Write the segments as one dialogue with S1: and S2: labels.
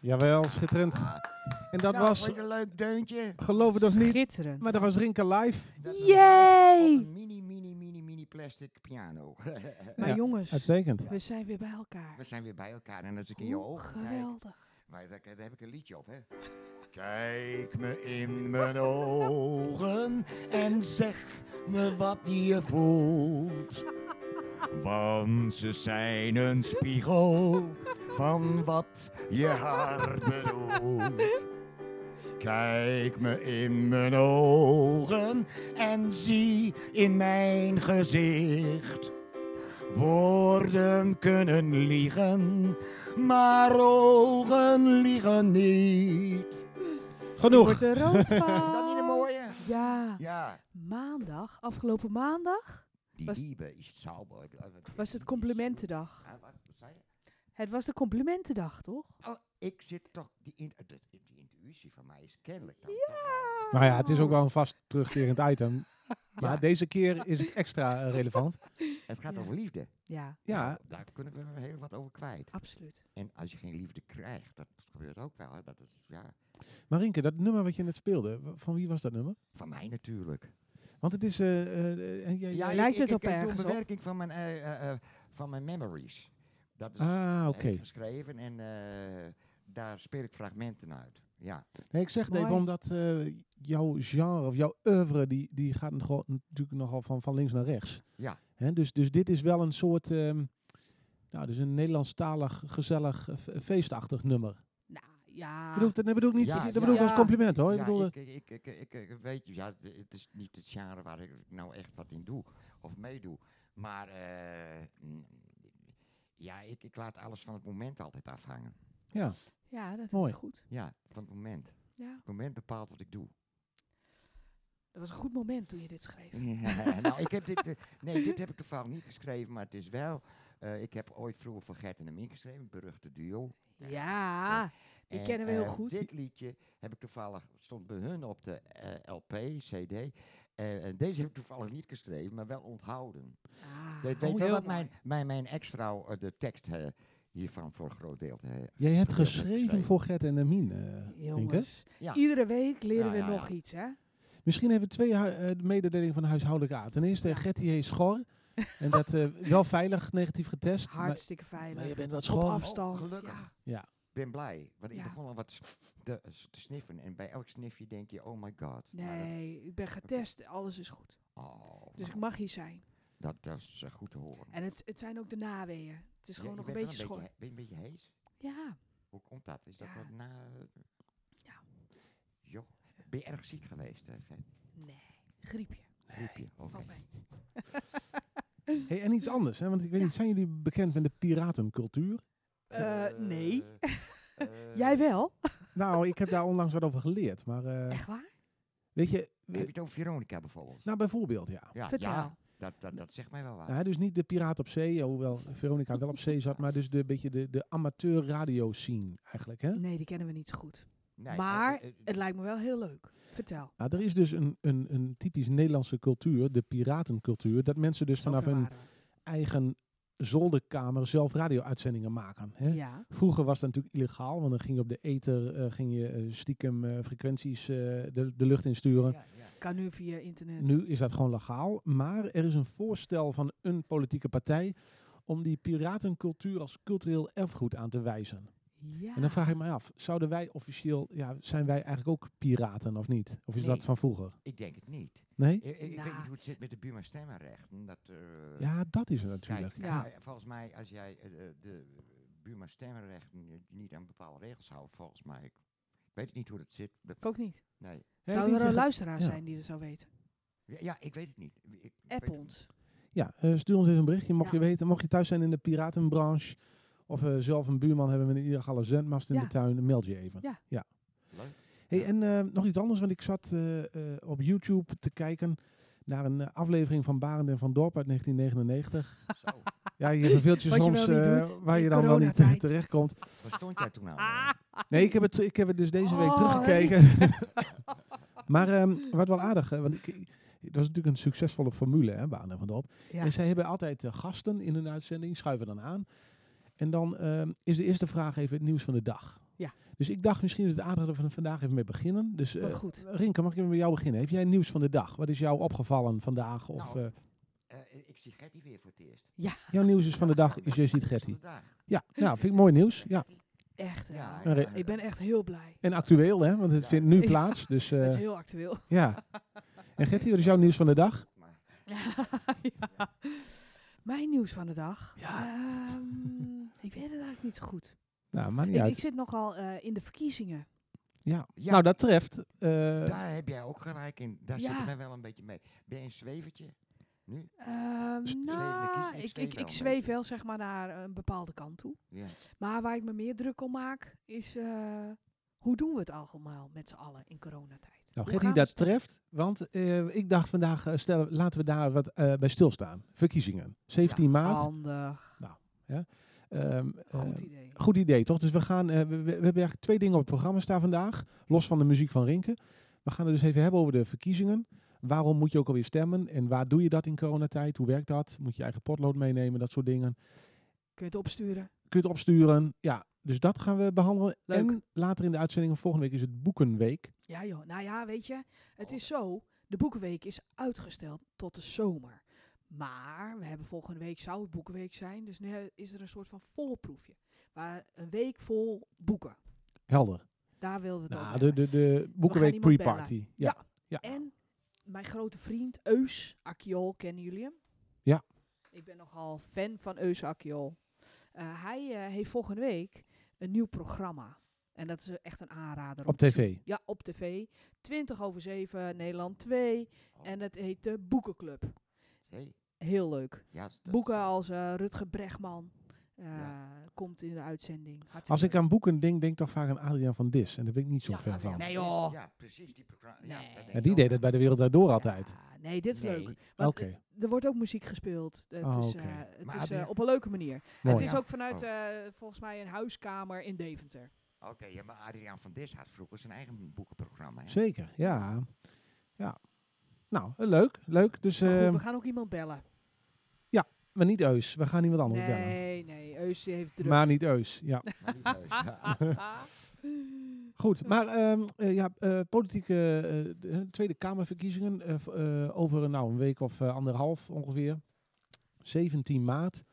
S1: Jawel, schitterend. En dat
S2: nou,
S1: was,
S2: Wat een leuk deuntje.
S1: geloof het of niet,
S3: Schitterend.
S1: maar dat was Rinke live.
S2: Dat was
S3: Yay!
S2: Op een mini, mini, mini, mini plastic piano.
S3: Maar
S1: Ja,
S3: jongens,
S1: Uitstekend.
S3: we zijn weer bij
S2: We
S3: elkaar.
S2: zijn weer bij elkaar en als ik in je
S3: Hoe
S2: ogen kijk,
S3: geweldig.
S2: maar daar, daar heb ik een liedje op, hè. Kijk me in mijn ogen en zeg me wat je voelt. Want ze zijn een spiegel van wat je hart bedoelt. Kijk me in mijn ogen en zie in mijn gezicht. Woorden kunnen liegen, maar ogen liegen niet.
S3: Je
S1: Genoeg.
S3: wordt eh, er rood
S2: Is dat niet een
S3: van.
S2: mooie?
S3: Ja,
S2: Ja.
S3: maandag, afgelopen maandag,
S2: Die
S3: Was-
S2: lieve is sauber.
S3: was het complimentendag.
S2: Ah, wat zei je?
S3: Het was de complimentendag, toch?
S2: Oh, ik zit toch... Die, in, dat- die intuïtie van mij is kennelijk dan toch wel-
S3: Ja.
S1: Nou ja, het is ook wel een vast terugkerend item. Maar
S2: Ja.
S1: deze keer is het extra eh, relevant.
S2: Het gaat
S3: Ja.
S2: over liefde.
S3: Ja,
S1: Ja,
S2: Nou, daar kunnen we heel wat over kwijt.
S3: absoluut.
S2: En als je geen liefde krijgt, dat gebeurt ook wel. hè, Dat is, ja,
S1: Marinke, dat nummer wat je net speelde, wa- van wie was dat nummer?
S2: van mij natuurlijk.
S1: Want het is... eh, eh, en jij-
S2: Ja, ik-
S3: Lijkt
S2: ik,
S3: het op
S2: ik, ik
S3: ergens
S2: doe
S3: op?
S2: een bewerking van mijn, eh, eh, eh, van mijn memories. Dat is
S1: Ah, oké.
S2: heb ik geschreven en eh, daar speel ik fragmenten uit. Ja,
S1: Nee, ik zeg het even
S3: Mooi.
S1: omdat eh, jouw genre of jouw oeuvre, die, die gaat gewoon natuurlijk nogal van, van links naar rechts.
S2: Ja.
S1: Hè, dus, dus dit is wel een soort, ehm, nou, dus een Nederlandstalig, gezellig, eh, fe- feestachtig nummer.
S3: Nou, ja.
S1: Bedoel, ik dat, nee, bedoel ik niet,
S2: Ja,
S1: dat
S2: ja.
S1: bedoel ik als
S3: Ja.
S1: compliment hoor. Ik
S2: ja,
S1: bedoel, eh,
S2: ik, ik, ik, ik, ik- weet je, ja, d- het is niet het genre waar ik nou echt wat in doe of meedoe. Maar eh, mm, ja, ik, ik laat alles van het moment altijd afhangen.
S1: ja.
S3: Ja, dat
S1: Mooi.
S3: is goed.
S2: Ja, van het moment.
S3: Ja.
S2: Het moment bepaalt wat ik doe.
S3: Dat was een goed moment toen je dit schreef.
S2: Ja, nou, ik heb dit, eh, nee, dit heb ik toevallig niet geschreven, maar het is wel. eh, ik heb ooit vroeger voor Gert en hem ingeschreven, het beruchte duo.
S3: Ja, die
S2: En,
S3: kennen we heel
S2: eh,
S3: goed.
S2: Dit liedje heb ik toevallig, stond bij hun op de eh, LP, CD. Eh, en deze heb ik toevallig niet geschreven, maar wel onthouden. ik
S3: Ah, oh,
S2: weet wel
S3: heel
S2: dat mijn,
S3: mooi.
S2: mijn, mijn ex-vrouw eh, de tekst eh, hiervan voor een groot deel. eh,
S1: Jij hebt
S2: Heel goed
S1: geschreven
S2: geschreven.
S1: voor Gert en Amin, eh Rinke.
S3: Jongens,
S2: ja.
S3: iedere week leren
S2: Ja,
S3: we
S2: ja,
S3: nog
S2: ja.
S3: iets, hè?
S1: Misschien even twee hu- eh, mededelingen van huishoudelijke aard. Ten eerste,
S3: Ja.
S1: Gert die heet schor. en dat eh, wel veilig, negatief getest. Maar,
S3: Hartstikke veilig.
S1: maar je bent wat
S3: Op
S1: schor.
S3: afstand.
S2: gelukkig.
S3: Ja.
S1: Ja.
S2: Ik ben blij, want ik
S3: Ja.
S2: begon al wat te s- te, te sniffen. En bij elk snifje denk je, oh my god. maar dat-
S3: Nee, ik ben getest. Alles is goed.
S2: oh,
S3: Dus ik
S2: nou,
S3: mag hier zijn.
S2: dat, dat is eh, goed te horen.
S3: En het, het zijn ook de naweeën. Het is
S2: Ja,
S3: gewoon
S2: je
S3: nog een
S2: bent wel
S3: beetje schor.
S2: he- Ben je een beetje hees?
S3: Ja.
S2: Hoe komt dat? Is dat
S3: Ja.
S2: wat na...
S3: Ja.
S2: Joh. Ben je erg ziek geweest, hè, Gert?
S3: Nee. Griepje.
S2: Griepje, oké.
S3: Valt mee.
S1: Hey, en iets anders, hè? want ik weet
S3: Ja.
S1: niet, zijn jullie bekend met de piratencultuur?
S3: Eh,
S2: Eh,
S3: nee.
S2: eh,
S3: Jij wel?
S1: Nou, ik heb daar onlangs wat over geleerd. Maar eh,
S3: Echt waar?
S1: weet je, eh,
S2: Heb je het over Veronica bijvoorbeeld?
S1: nou bijvoorbeeld, ja.
S2: ja,
S3: Vertel. Eh,
S2: ja, dat, dat, dat zegt mij wel wat.
S1: Nou, hè, dus niet de piraat op zee, hoewel Veronica wel op zee zat, maar dus de beetje de, de amateur radio scene eigenlijk. Hè?
S3: Nee, die kennen we niet zo goed.
S2: Nee, eh,
S3: maar
S2: eh, eh,
S3: Het lijkt me wel heel leuk. Vertel.
S1: Nou, er is dus een, een, een typisch Nederlandse cultuur, de piratencultuur, dat mensen dus vanaf
S3: Zover
S1: hun
S3: waren we.
S1: eigen zolderkamer zelf radio-uitzendingen maken. Hè?
S3: Ja.
S1: Vroeger was dat natuurlijk illegaal, want dan ging je op de ether eh, ging je, eh, stiekem eh, frequenties eh, de, de lucht insturen.
S2: ja, ja.
S3: Kan nu via internet.
S1: Nu is dat gewoon legaal, maar er is een voorstel van een politieke partij om die piratencultuur als cultureel erfgoed aan te wijzen.
S3: Ja.
S1: En dan vraag ik mij af, zouden wij officieel, ja, zijn wij eigenlijk ook piraten of niet? Of is
S2: Nee.
S1: dat van vroeger?
S2: Ik denk het niet. Eh,
S1: Nee?
S2: Ik, ik- ik weet
S3: Nou.
S2: niet hoe het zit met de Buma stemmenrechten. Dat, eh,
S1: Ja, dat is het
S2: kijk,
S1: natuurlijk.
S3: Ja.
S2: eh, volgens mij als jij eh, de- de Buma stemmenrechten eh, niet aan bepaalde regels houdt, volgens mij. Ik weet het niet hoe dat zit. Dat-
S3: Ik ook niet.
S2: Nee.
S1: Hè,
S3: Zou
S1: denk
S3: er
S1: je
S3: een
S1: dat-
S3: luisteraar
S1: ja.
S3: zijn die dat zou weten?
S2: Ja, ja, ik weet het niet. Ik- ik weet
S3: App
S2: het
S3: ons.
S1: Ja, eh, stuur ons even een berichtje, mocht
S3: Ja.
S1: je weten. Mocht je thuis zijn in de piratenbranche of eh, zelf een buurman hebben met een illegale zendmast in
S3: Ja.
S1: de tuin, meld je even.
S3: Ja.
S1: ja.
S2: niet. Leuk.
S1: Hey,
S2: Ja.
S1: en eh, nog iets anders, want ik zat eh, eh, op YouTube te kijken naar een eh, aflevering van Barend en van Dorp uit 1999.
S2: Zo.
S1: Ja, je verveelt je
S3: Wat je
S1: soms
S3: wel niet
S1: eh,
S3: doet
S1: waar
S3: in
S1: je dan wel niet
S3: coronatijd.
S1: terechtkomt.
S2: Waar stond jij toen al? eh?
S3: Ah.
S1: Nee, ik heb het, ik heb het dus deze week
S3: Oh,
S1: teruggekeken. maar ehm, wat wel aardig, eh, want ik, het was natuurlijk een succesvolle formule, hè, Baan en Van Dorp.
S3: Ja.
S1: En zij hebben altijd eh, gasten in hun uitzending, schuiven dan aan. En dan ehm, is de eerste vraag even het nieuws van de dag.
S3: Ja.
S1: Dus ik dacht misschien is het aardig dat we er vandaag even mee beginnen. Dus eh
S3: Wat goed.
S1: Rinke, mag ik even met jou beginnen? Heb jij nieuws van de dag? Wat is jou opgevallen vandaag? Of,
S2: Nou.
S1: eh,
S2: Eh, ik zie Gertie weer voor het eerst.
S1: jouw nieuws is van de dag, is je ziet Getty.
S2: Vandaag.
S1: Ja, nou, vind ik mooi nieuws. Ja.
S3: Echt, hè?
S2: Ja,
S1: Een re-
S3: Ik ben echt heel blij.
S1: En actueel, hè? Want het
S2: Ja.
S1: vindt nu
S3: Ja.
S1: plaats. Dus eh,
S3: Het is heel actueel.
S1: ja. En Gertie, wat is jouw nieuws van de dag?
S2: Maar
S3: Ja. Mijn nieuws van de dag.
S1: Ja.
S3: Ehm, ik weet het eigenlijk niet zo goed.
S1: Nou, maakt niet
S3: Ik, ik
S1: uit.
S3: zit nogal eh, in de verkiezingen.
S1: Ja.
S2: Ja.
S1: Nou, dat treft. eh,
S2: daar heb jij ook gelijk in. Daar
S3: Ja.
S2: zitten wij wel een beetje mee. Ben je een zwevertje? Nu?
S3: Ehm,
S1: zweef-
S3: nou,
S2: Dus ik- ik zweef
S3: ik, ik,
S2: wel
S3: ik
S2: een
S3: zweef
S2: beetje.
S3: wel zeg maar naar eh, een bepaalde kant toe.
S2: Ja.
S3: Maar waar ik me meer druk om maak, is eh, hoe doen we het allemaal met z'n allen in coronatijd?
S1: nou,
S3: Hoe
S1: Gertie,
S3: gaan we
S1: dat treft. Want eh, ik dacht vandaag, eh, stellen, laten we daar wat eh, bij stilstaan. Verkiezingen. 17
S3: het-
S1: maart.
S3: Handig,
S1: Ehm,
S3: Oh. goed
S1: eh,
S3: idee.
S1: Goed idee, toch? Dus we, gaan, eh, we, we- we hebben eigenlijk twee dingen op het programma staan vandaag. Los van de muziek van Rinken. We gaan het dus even hebben over de verkiezingen. Waarom moet je ook alweer stemmen? En waar doe je dat in coronatijd? Hoe werkt dat? Moet je je eigen potlood meenemen? Dat soort dingen.
S3: Kun je het opsturen?
S1: Kun je het opsturen? Ja, dus dat gaan we behandelen.
S3: Leuk.
S1: En later in de uitzending van volgende week is het Boekenweek.
S3: Ja joh, nou ja, weet je, het
S2: Oh.
S3: is zo, de boekenweek is uitgesteld tot de zomer. Maar we hebben volgende week, zou het boekenweek zijn, dus nu is er een soort van voorproefje. Maar een week vol boeken,
S1: Helder.
S3: daar willen we het
S1: Nou,
S3: over
S1: de,
S3: hebben.
S1: de, de Boekenweek
S3: iemand
S1: pre-party. Ja.
S3: Ja.
S1: Ja.
S3: En mijn grote vriend Eus Akiol, kennen jullie hem?
S1: Ja.
S3: Ik ben nogal fan van Eus Akiol. Eh, hij eh, heeft volgende week een nieuw programma. En dat is eh, echt een aanrader. om
S1: op
S3: te zien.
S1: tv.
S3: Ja, op tv. 20 over 7, Nederland 2.
S2: Oh,
S3: En het heet de Boekenclub.
S2: hey.
S3: Heel leuk.
S2: ja, dat-
S3: Boeken als eh, Rutger Bregman eh,
S2: Ja.
S3: komt in de uitzending. Hartstikke
S1: Als ik
S3: leuk.
S1: aan boeken denk, denk ik toch vaak aan Adriaan van Dis. En daar ben ik niet zo
S2: Ja,
S1: fan
S2: Adriaan
S1: van.
S3: Nee,
S2: Vernis.
S3: joh.
S2: Ja, precies die programma.
S3: Nee.
S1: Ja, die deed
S2: deed
S1: het bij de Wereld Draait Door altijd.
S3: Ja, nee, dit is leuk.
S2: Nee.
S1: Oké,
S3: Want Er wordt ook muziek gespeeld. Het
S1: Ah,
S3: is,
S1: oké.
S3: eh, het
S2: Maar
S3: is
S2: Adrie-
S3: eh, op een leuke manier.
S1: mooi. Oh.
S3: Het is
S2: Ja.
S3: ook vanuit eh, volgens mij een huiskamer in Deventer.
S2: Oké, ja, maar Adriaan van Dis had vroeger zijn eigen boekenprogramma. Hè?
S1: Zeker, ja. Ja. Nou, eh, leuk, leuk. Dus,
S3: Maar goed,
S1: ehm,
S3: we gaan ook iemand bellen.
S1: maar niet Eus. We gaan iemand anders bellen.
S3: Nee, nee, Eus die heeft druk. Ah.
S1: Maar niet Eus, ja.
S2: Maar niet heus. Ja.
S1: Goed, maar ehm, eh, ja, eh, politieke eh, de, eh, Tweede Kamerverkiezingen eh, v- eh, over eh, nou, een week of eh, anderhalf ongeveer. 17 maart.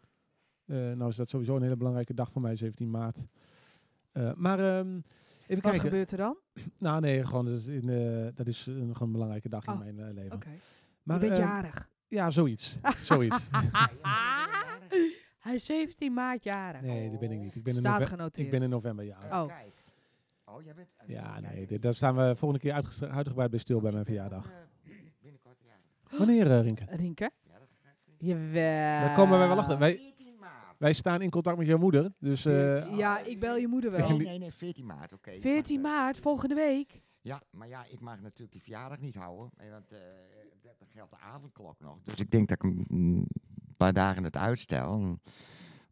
S1: Eh, nou is dat sowieso een hele belangrijke dag voor mij, 17 maart. Eh, maar ehm, even
S3: Wat
S1: kijken.
S3: gebeurt er dan?
S1: Nou nee, gewoon, dat is, in, eh, dat is eh, gewoon een belangrijke dag in
S3: Oh,
S1: mijn eh, leven.
S3: Oké.
S1: Maar,
S3: je bent
S1: ehm,
S3: jarig.
S1: ja, zoiets. zoiets.
S3: Oh. Hij is 17 maart jarig.
S1: Nee, dat ben ik niet. Ik ben in
S3: Staat
S1: november-
S3: genoteerd.
S1: Ik ben in november, ja.
S2: Oh.
S3: Oh.
S2: Kijk. Oh, jij bent...
S1: Ja, nee, dit- daar staan we volgende keer uitgestra- uitgebreid bij stil bij mijn verjaardag.
S2: Eh, Binnenkort, ja.
S1: Wanneer, eh, Rinke?
S3: Rinke?
S2: Ja, dat gaat
S3: Jawel.
S1: Daar komen wij wel achter. Wij,
S2: 14 maart.
S1: wij staan in contact met jouw moeder, dus... eh,
S2: Veertien.
S3: Ja, ik bel je moeder
S2: Nee,
S3: wel.
S2: nee, nee, 14 maart, oké. ik
S3: 14
S2: mag, eh,
S3: maart, volgende week.
S2: Ja, maar ja, ik mag natuurlijk die verjaardag niet houden, eh, want eh dat dat geldt de avondklok nog. Dus ik denk dat ik hem een paar dagen het uitstel. Mm,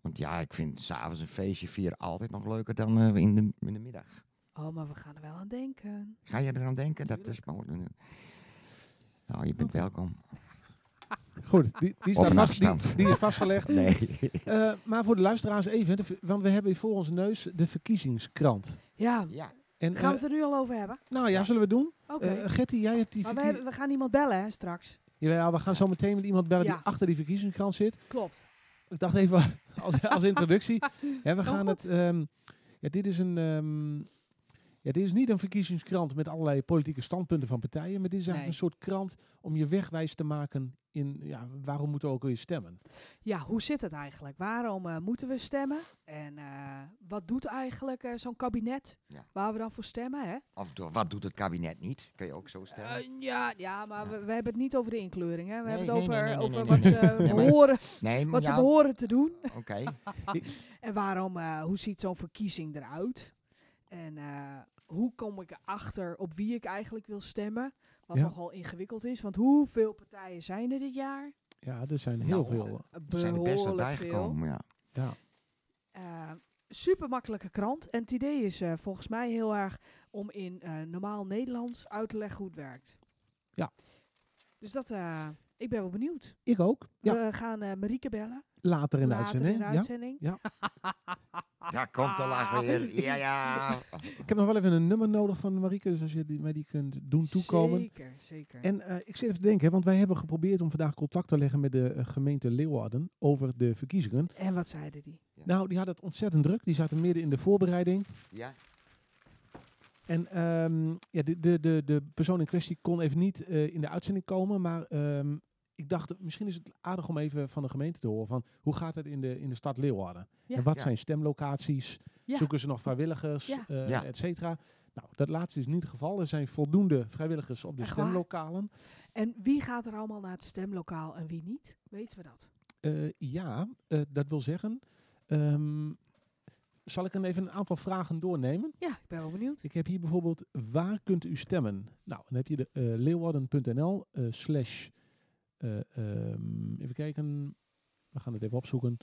S2: Want ja, ik vind s'avonds een feestje vieren altijd nog leuker dan eh, in, de, in de middag.
S3: Oh, maar we gaan er wel aan denken.
S2: Ga je eraan denken? Dat is
S3: Tuurlijk.
S2: mogelijk. Nou, je bent welkom.
S1: goed, die, die, staat
S2: een
S1: vast, die,
S2: afstand.
S1: die is vastgelegd.
S2: Nee.
S1: Eh, maar voor de luisteraars even, de ver- want we hebben hier voor ons neus de verkiezingskrant.
S3: Ja,
S2: Ja,
S1: En,
S3: gaan we
S1: eh,
S3: het er nu al over hebben?
S1: nou ja, zullen we doen?
S3: Oké.
S1: Eh Getty, jij hebt die
S3: maar we,
S1: verkiezing...
S3: hebben- we gaan iemand bellen, hè, straks.
S1: Jawel, we gaan zo meteen met iemand bellen
S3: Ja.
S1: die achter die verkiezingskrant zit.
S3: Klopt.
S1: Ik dacht even als, als introductie. Hè, we
S3: Heel
S1: gaan het. ehm, ja, dit is een. ehm, ja, dit is niet een verkiezingskrant met allerlei politieke standpunten van partijen. Maar dit is eigenlijk
S3: Nee.
S1: een soort krant om je wegwijs te maken in ja, waarom moeten we ook weer stemmen.
S3: Ja, hoe zit het eigenlijk? Waarom eh, moeten we stemmen? En eh, wat doet eigenlijk eh, zo'n kabinet
S2: Ja.
S3: waar we dan voor stemmen? Hè?
S2: of door, wat doet het kabinet niet? Kun je ook zo stellen.
S3: Eh, ja, ja, maar
S2: Ja.
S3: We, we hebben het niet over de inkleuring. Hè? We
S2: Nee,
S3: hebben
S2: nee,
S3: het over,
S2: nee, nee, nee,
S3: over
S2: nee,
S3: wat,
S2: nee.
S3: ze,
S2: Nee, maar-
S3: behoren,
S2: nee, maar
S3: wat ze
S2: ja,
S3: behoren te doen.
S2: Oké.
S3: En waarom, eh, hoe ziet zo'n verkiezing eruit? En eh, hoe kom ik erachter op wie ik eigenlijk wil stemmen? Wat
S1: Ja.
S3: nogal ingewikkeld is, want hoeveel partijen zijn er dit jaar?
S1: Ja, er zijn heel
S2: Nou,
S1: veel.
S2: We zijn er best wel bijgekomen, ja.
S1: Ja.
S3: eh, super makkelijke krant. En het idee is eh, volgens mij heel erg om in eh, normaal Nederlands uit te leggen hoe het werkt.
S1: Ja.
S3: Dus dat, eh, ik ben wel benieuwd.
S1: Ik ook. Ja,
S3: We gaan eh Marieke bellen.
S1: later in de
S3: later
S1: uitzending.
S3: in de
S1: ja.
S3: uitzending.
S1: Ja.
S2: Ja, komt de lach weer. Ja, ja.
S1: Ik heb nog wel even een nummer nodig van Marieke, dus als je die, mij die kunt doen toekomen.
S3: Zeker, zeker.
S1: En eh, ik zit even te denken, hè, want wij hebben geprobeerd om vandaag contact te leggen met de eh, gemeente Leeuwarden over de verkiezingen.
S3: en wat zeiden die?
S1: Nou, die hadden het ontzettend druk. Die zaten midden in de voorbereiding.
S2: Ja,
S1: En ehm, ja, de, de, de, de persoon in kwestie kon even niet eh, in de uitzending komen. Maar ehm, ik dacht, misschien is het aardig om even van de gemeente te horen. Van, hoe gaat het in de, in de stad Leeuwarden?
S3: Ja.
S1: En wat
S2: Ja.
S1: zijn stemlocaties?
S3: Ja.
S1: Zoeken ze nog vrijwilligers?
S3: Ja.
S1: eh,
S2: Ja.
S1: Et cetera. Nou, dat laatste is niet het geval. Er zijn voldoende vrijwilligers op de
S3: Echt waar?
S1: stemlokalen.
S3: En wie gaat er allemaal naar het stemlokaal en wie niet? Weten we dat?
S1: Eh, ja, eh, dat wil zeggen... ehm, zal ik er even een aantal vragen doornemen?
S3: Ja, ik ben wel benieuwd.
S1: Dus Ik heb hier bijvoorbeeld, waar kunt u stemmen? Nou, dan heb je de eh, leeuwarden.nl eh, slash, eh, ehm, even kijken, we gaan het even opzoeken.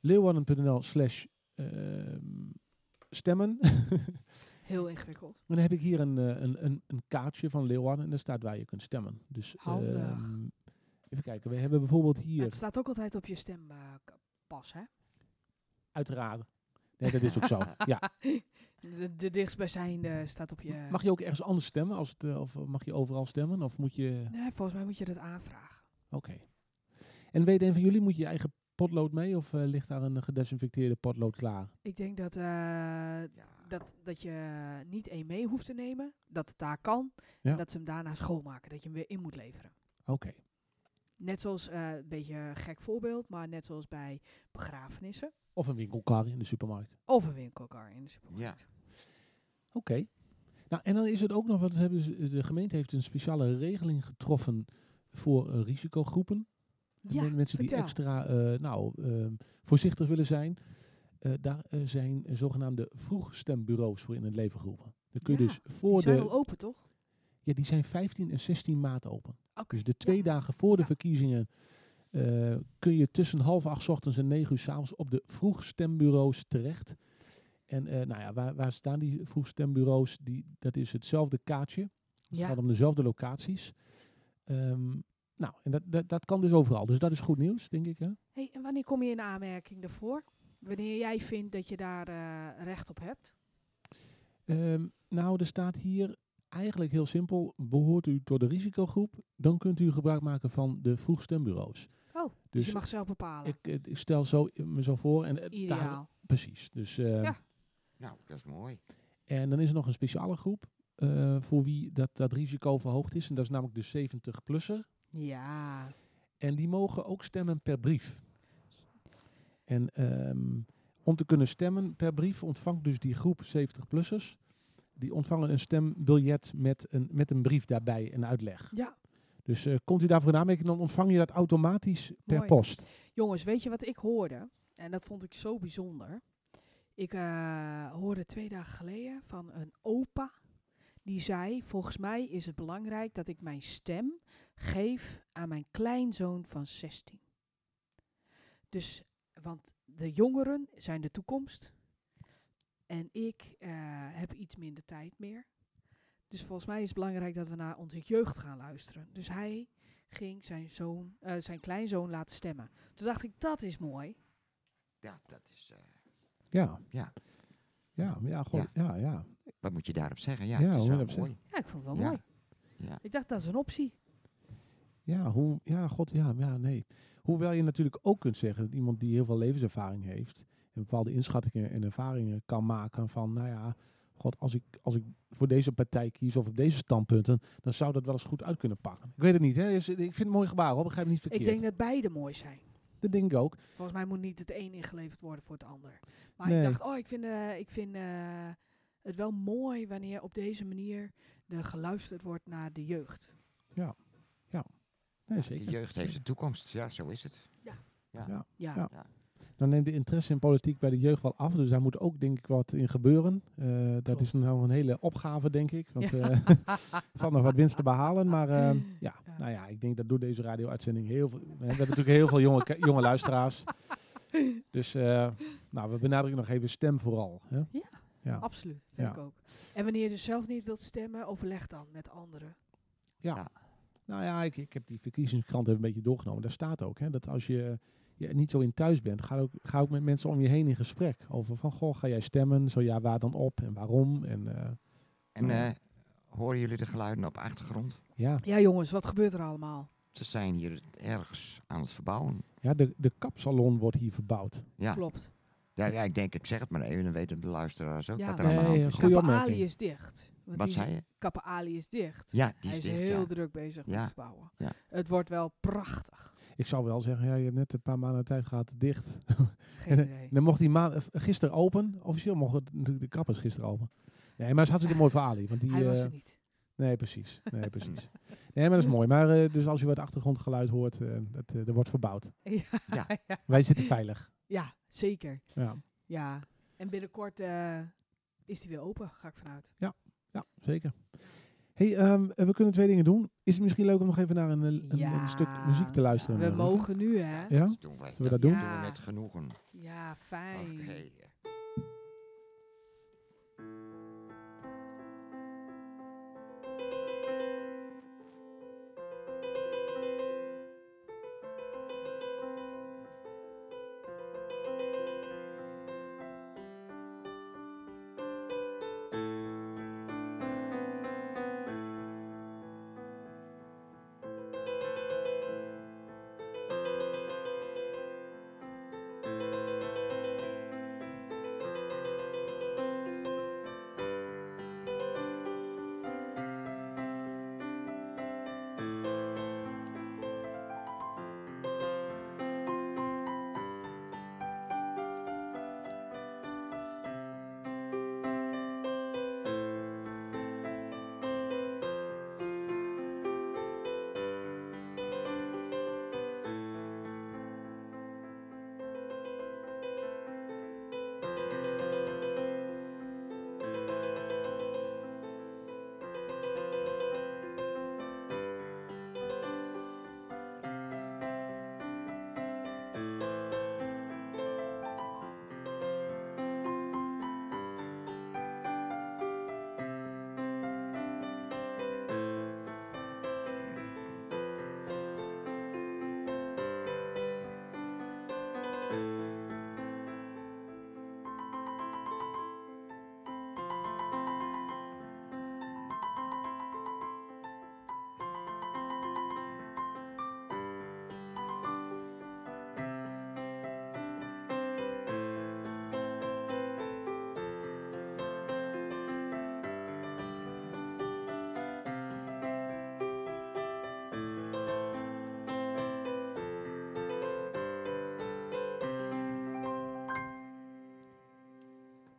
S1: Leeuwarden.nl slash ehm, stemmen.
S3: Heel ingewikkeld.
S1: En dan heb ik hier een, eh, een, een, een kaartje van Leeuwarden en daar staat waar je kunt stemmen. Dus,
S3: Handig.
S1: ehm, even kijken, we hebben bijvoorbeeld
S3: Maar
S1: hier,
S3: het staat ook altijd op je stempas, hè?
S1: uiteraard, nee dat is ook zo, ja.
S3: De, de dichtstbijzijnde staat op je...
S1: Mag je ook ergens anders stemmen? Als het, eh, of mag je overal stemmen? Of moet je...
S3: Nee, volgens mij moet je dat aanvragen.
S1: Oké. En weet een van jullie, moet je je eigen potlood mee of eh, ligt daar een gedesinfecteerde potlood klaar?
S3: Ik denk dat, eh, dat, dat je niet één mee hoeft te nemen. Dat het daar kan.
S1: Ja.
S3: En dat ze hem daarna schoonmaken. Dat je hem weer in moet leveren.
S1: Oké.
S3: Net zoals, eh, een beetje een gek voorbeeld, maar net zoals bij begrafenissen.
S1: Of een winkelkar in de supermarkt.
S3: Of een winkelkar in de supermarkt.
S1: Oké. Nou, en dan is het ook nog wat, hebben ze, de gemeente heeft een speciale regeling getroffen voor eh, risicogroepen.
S3: Ja,
S1: Men- mensen die
S3: vertel.
S1: extra eh, nou, ehm, voorzichtig willen zijn. Eh, daar eh, zijn eh, zogenaamde vroegstembureaus voor in het leven geroepen. Dan kun je
S3: Ja,
S1: dus voor
S3: Die
S1: de.
S3: zijn al open, toch?
S1: Ja, die zijn 15 en 16 maart open.
S3: Oké.
S1: Dus de twee
S3: ja.
S1: dagen voor de
S3: Ja.
S1: verkiezingen eh, kun je tussen half acht 's ochtends en negen uur 's avonds op de vroegstembureaus terecht. En eh, nou ja, waar, waar staan die vroegstembureaus? Die, dat is hetzelfde kaartje. Het
S3: Ja.
S1: gaat om dezelfde locaties. Ehm, nou, en dat, dat, dat kan dus overal. Dus dat is goed nieuws, denk ik. Hè?
S3: Hey, en wanneer kom je in aanmerking daarvoor? Wanneer jij vindt dat je daar eh, recht op hebt?
S1: Ehm, nou, er staat hier eigenlijk heel simpel. Behoort u tot de risicogroep, dan kunt u gebruik maken van de vroegstembureaus.
S3: Oh, dus,
S1: Dus
S3: je mag zelf bepalen.
S1: Ik, eh, ik stel zo, me zo voor. En, eh, daar,
S3: Ideaal.
S1: Precies. Dus, eh,
S3: Ja.
S2: nou, dat is mooi.
S1: En dan is er nog een speciale groep eh, voor wie dat, dat risico verhoogd is. En dat is namelijk de 70-plusser.
S3: Ja.
S1: En die mogen ook stemmen per brief. En ehm, om te kunnen stemmen per brief ontvangt dus die groep 70-plussers. Die ontvangen een stembiljet met een, met een brief daarbij en uitleg.
S3: Ja.
S1: Dus eh, komt u daarvoor in aanmerking, dan ontvang je dat automatisch per
S3: Mooi.
S1: post.
S3: Jongens, weet je wat ik hoorde? En dat vond ik zo bijzonder. Ik eh, hoorde twee dagen geleden van een opa. Die zei, volgens mij is het belangrijk dat ik mijn stem geef aan mijn kleinzoon van 16. Dus, want de jongeren zijn de toekomst. En ik eh, heb iets minder tijd meer. Dus volgens mij is het belangrijk dat we naar onze jeugd gaan luisteren. Dus hij ging zijn, zoon, eh, zijn kleinzoon laten stemmen. Toen dacht ik, dat is mooi.
S2: Ja, dat is... eh,
S1: Ja.
S2: Ja.
S1: Ja, ja, goh,
S2: Ja.
S1: ja, ja.
S2: wat moet je daarop zeggen? Ja,
S1: Ja,
S2: het is wel
S1: 100%.
S2: mooi.
S3: Ja, ik vond het wel
S2: Ja.
S3: mooi.
S2: Ja.
S3: Ik dacht, dat is een optie.
S1: Ja, hoe, ja, god, ja, ja, nee. Hoewel je natuurlijk ook kunt zeggen dat iemand die heel veel levenservaring heeft en bepaalde inschattingen en ervaringen kan maken van, nou ja, god, als ik, als ik voor deze partij kies of op deze standpunten, dan zou dat wel eens goed uit kunnen pakken. Ik weet het niet, hè? Is- ik vind het mooi gebaar, hoor. begrijp me niet verkeerd.
S3: Ik denk dat beide mooi zijn.
S1: dat denk ik ook.
S3: Volgens mij moet niet het een ingeleverd worden voor het ander. Maar
S1: Nee.
S3: ik dacht, oh, ik vind, eh, ik vind eh, het wel mooi wanneer op deze manier er geluisterd wordt naar de jeugd.
S1: Nee,
S2: De
S1: zeker.
S2: jeugd heeft de toekomst. Ja, zo is het.
S3: Ja,
S1: Ja.
S3: ja.
S1: Dan neemt de interesse in politiek bij de jeugd wel af, dus daar moet ook denk ik wat in gebeuren. Eh, dat
S3: Klopt.
S1: is nou een hele opgave, denk ik. Want eh, er valt nog wat winst te behalen. Maar eh, ja,
S3: Ja.
S1: nou ja, ik denk dat door deze radio-uitzending heel veel... We hebben natuurlijk heel veel jonge, ki- jonge luisteraars. Dus eh, nou, we benadrukken nog even stem vooral. Hè? Ja.
S3: absoluut. Vind
S1: Ja.
S3: ik ook. En wanneer je dus zelf niet wilt stemmen, overleg dan met anderen.
S1: Nou ja, ik, ik heb die verkiezingskrant even een beetje doorgenomen. Daar staat ook hè, dat als je je niet zo in thuis bent, ga ook, ga ook met mensen om je heen in gesprek. Over van, goh, ga jij stemmen? Zo ja, waar dan op en waarom? En eh,
S2: En eh, horen jullie de geluiden op de achtergrond?
S1: ja,
S3: Ja, jongens, wat gebeurt er allemaal?
S2: Ze zijn hier ergens aan het verbouwen.
S1: ja de, de kapsalon wordt hier verbouwd.
S2: Ja.
S3: Klopt.
S2: Ja, ja, ik denk, ik zeg het maar even, dan weten de luisteraars ook
S3: Ja.
S2: wat er aan de
S1: Nee,
S2: hand is.
S1: goeie
S3: Kappa
S1: opmerking.
S3: Ali is dicht. Want
S2: Wat
S3: die-
S2: zei je?
S3: Kappa Ali is dicht.
S2: Ja, die
S3: Hij
S2: is
S3: is
S2: dicht,
S3: heel
S2: ja.
S3: druk bezig
S2: Ja.
S3: met verbouwen.
S2: Ja.
S3: Het wordt wel prachtig.
S1: Ik zou wel zeggen, ja, je hebt net een paar maanden tijd gehad dicht.
S3: Geen idee.
S1: En dan mocht die maand eh, gisteren open. Officieel mochten natuurlijk de kappers gisteren open. Nee, maar het is hartstikke mooi voor Ali. Want die,
S3: Hij was
S1: eh,
S3: er niet.
S1: Nee, precies. Nee, precies. Nee, maar dat is mooi. Maar eh, dus als je wat achtergrondgeluid hoort, eh dat, eh, er wordt verbouwd.
S3: Ja,
S2: Ja.
S3: ja.
S1: Wij zitten veilig.
S3: ja, zeker.
S1: Ja,
S3: Ja. En binnenkort eh, is die weer open, ga ik vanuit.
S1: ja zeker. hey, ehm, eh, we kunnen twee dingen doen. Is het misschien leuk om nog even naar een, eh, een,
S3: Ja.
S1: een stuk muziek te luisteren?
S3: We
S1: eh, Luca?
S3: mogen nu, hè? Ja,
S1: Ja?
S2: Dat doen wij.
S1: we dat doen?
S2: doen we
S3: Ja.
S2: met genoegen.
S3: fijn.
S2: Oké.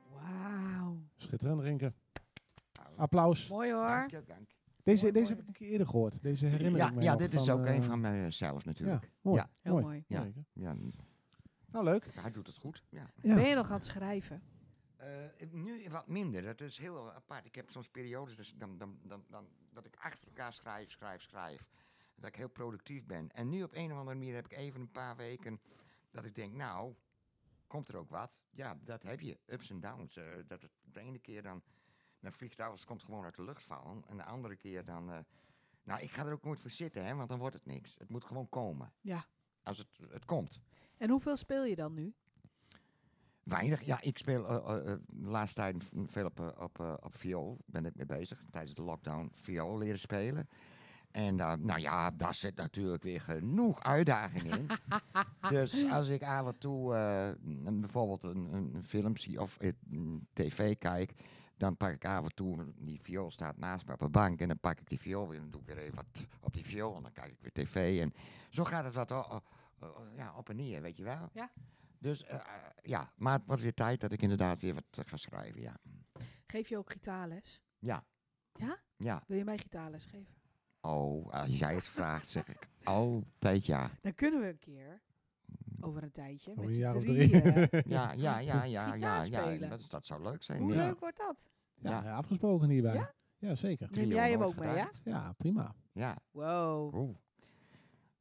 S3: Wauw.
S1: Schitterend, Rinke. Ah, Applaus.
S3: Mooi hoor.
S2: Dank je, dank.
S1: Deze, deze heb ik een keer eerder gehoord. Deze herinner
S2: Ja,
S1: ik me
S2: ja,
S1: nog
S2: dit is ook
S1: eh,
S2: een van mijzelf natuurlijk.
S1: Ja, mooi.
S2: Ja.
S3: Heel mooi.
S2: Ja.
S1: Zeker.
S2: Ja. n-
S1: Nou, leuk.
S2: hij doet het goed. Ja.
S1: Ja.
S3: Ben je nog aan het schrijven?
S2: Eh, nu wat minder, dat is heel apart. Ik heb soms periodes dus dan, dan, dan, dan, dat ik achter elkaar schrijf, schrijf, schrijf. Dat ik heel productief ben. En nu op een of andere manier heb ik even een paar weken dat ik denk, nou, komt er ook wat? Ja, dat heb je. Ups en downs. eh, dat het de ene keer dan, dan vliegt alles, komt gewoon uit de lucht vallen. En de andere keer dan, eh, nou, ik ga er ook nooit voor zitten, hè, want dan wordt het niks. Het moet gewoon komen.
S3: Ja.
S2: Als het, het komt.
S3: En hoeveel speel je dan nu?
S2: Weinig. Ja, ik speel eh, eh, eh, de laatste tijd v- veel op, eh, op, eh, op viool. Ben ik mee bezig. Tijdens de lockdown viool leren spelen. En eh, nou ja, daar zit natuurlijk weer genoeg uitdaging in. dus als ik af en toe eh, een- bijvoorbeeld een, een een film zie of eh, mm, tv kijk, dan pak ik af en toe, die viool staat naast me op een bank, en dan pak ik die viool weer en dan doe ik weer even wat op die viool en dan kijk ik weer tv. En zo gaat het wat o- o- o- ja, op en neer, weet je wel.
S3: Ja.
S2: Dus eh, eh, ja, maar het was weer tijd dat ik inderdaad weer wat eh, ga schrijven, ja.
S3: Geef je ook gitaarles?
S2: Ja.
S3: Ja?
S2: Ja.
S3: Wil je mij gitaarles geven?
S2: Oh, als jij het vraagt, zeg ik altijd ja.
S3: Dan kunnen we een keer, over een tijdje,
S1: Over
S3: met
S1: een
S3: z'n
S1: jaar of drie.
S3: drieën.
S2: Ja, ja, ja, ja, ja,
S3: Gitaar
S2: ja.
S3: spelen.
S2: Dat, dat zou leuk zijn.
S3: Hoe
S2: ja.
S3: leuk wordt dat?
S1: Ja,
S2: Ja.
S1: afgesproken hierbij.
S3: Ja?
S1: Ja, zeker.
S3: Neem
S2: Trio
S3: jij hem
S2: nooit
S3: ook mee, ja?
S2: gedraaid.
S1: Ja, prima.
S2: Ja.
S3: Wow.
S2: Oeh.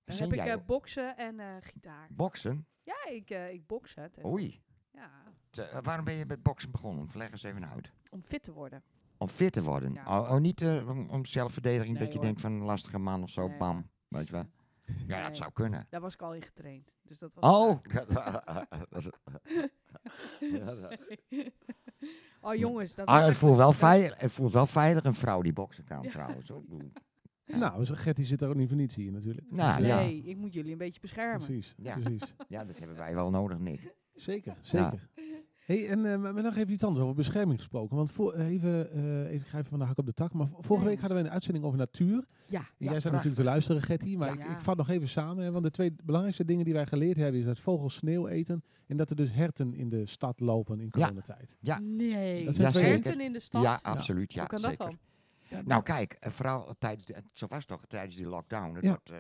S3: Dan
S2: Zing
S3: heb ik
S2: jij
S3: eh, boksen en eh, gitaar.
S2: boksen?
S3: Ja, ik, eh ik boks het.
S2: Oei.
S3: Ja,
S2: Te- eh, waarom ben je met boksen begonnen? Leg eens even uit.
S3: om fit te worden.
S2: Om fit te worden.
S3: Ja.
S2: Oh, oh, niet eh, om, om zelfverdediging
S3: Nee,
S2: dat je
S3: hoor.
S2: denkt van een lastige man of zo,
S3: Nee,
S2: bam. Weet je wel? Ja,
S3: Nee.
S2: dat zou kunnen.
S3: Daar was ik al in getraind. Dus dat was
S2: Oh!
S3: oh jongens, dat
S2: Ah,
S3: was
S2: het
S3: echt-
S2: voelt wel veilig, het voelt wel veilig een vrouw die boksen kan trouwens. hoor. Ik bedoel,
S1: Nou, zo'n Gertie zit daar ook niet voor niets hier natuurlijk.
S2: Nou, ja.
S3: Nee, ik moet jullie een beetje beschermen.
S1: Precies,
S2: Ja.
S1: precies.
S2: Ja, dat hebben wij wel nodig, Nick.
S1: Zeker, zeker. Hey, en eh, maar maar nog even iets anders over bescherming gesproken. Want voor, even, eh, even, ik ga even van de hak op de tak. Maar v- vorige
S3: Nee.
S1: week hadden we een uitzending over natuur.
S3: Ja.
S1: En
S2: Ja,
S1: jij zat
S2: prachtig.
S1: natuurlijk te luisteren, Gertie. Maar
S3: Ja.
S1: ik, ik vat nog even samen. Hè, want de twee belangrijkste dingen die wij geleerd hebben... is dat vogels sneeuw eten... en dat er dus herten in de stad lopen in
S2: Ja.
S1: coronatijd.
S2: Ja.
S3: Nee.
S1: Dat zijn
S2: Ja,
S1: twee-
S2: zeker.
S3: Herten in de stad.
S2: Ja, absoluut. Ja,
S3: Nou, Hoe kan dat
S2: zeker.
S3: dan?
S2: Nou kijk, eh, vooral tijdens de, zo was het toch tijdens die lockdown. Er
S1: Ja.
S2: wordt, eh,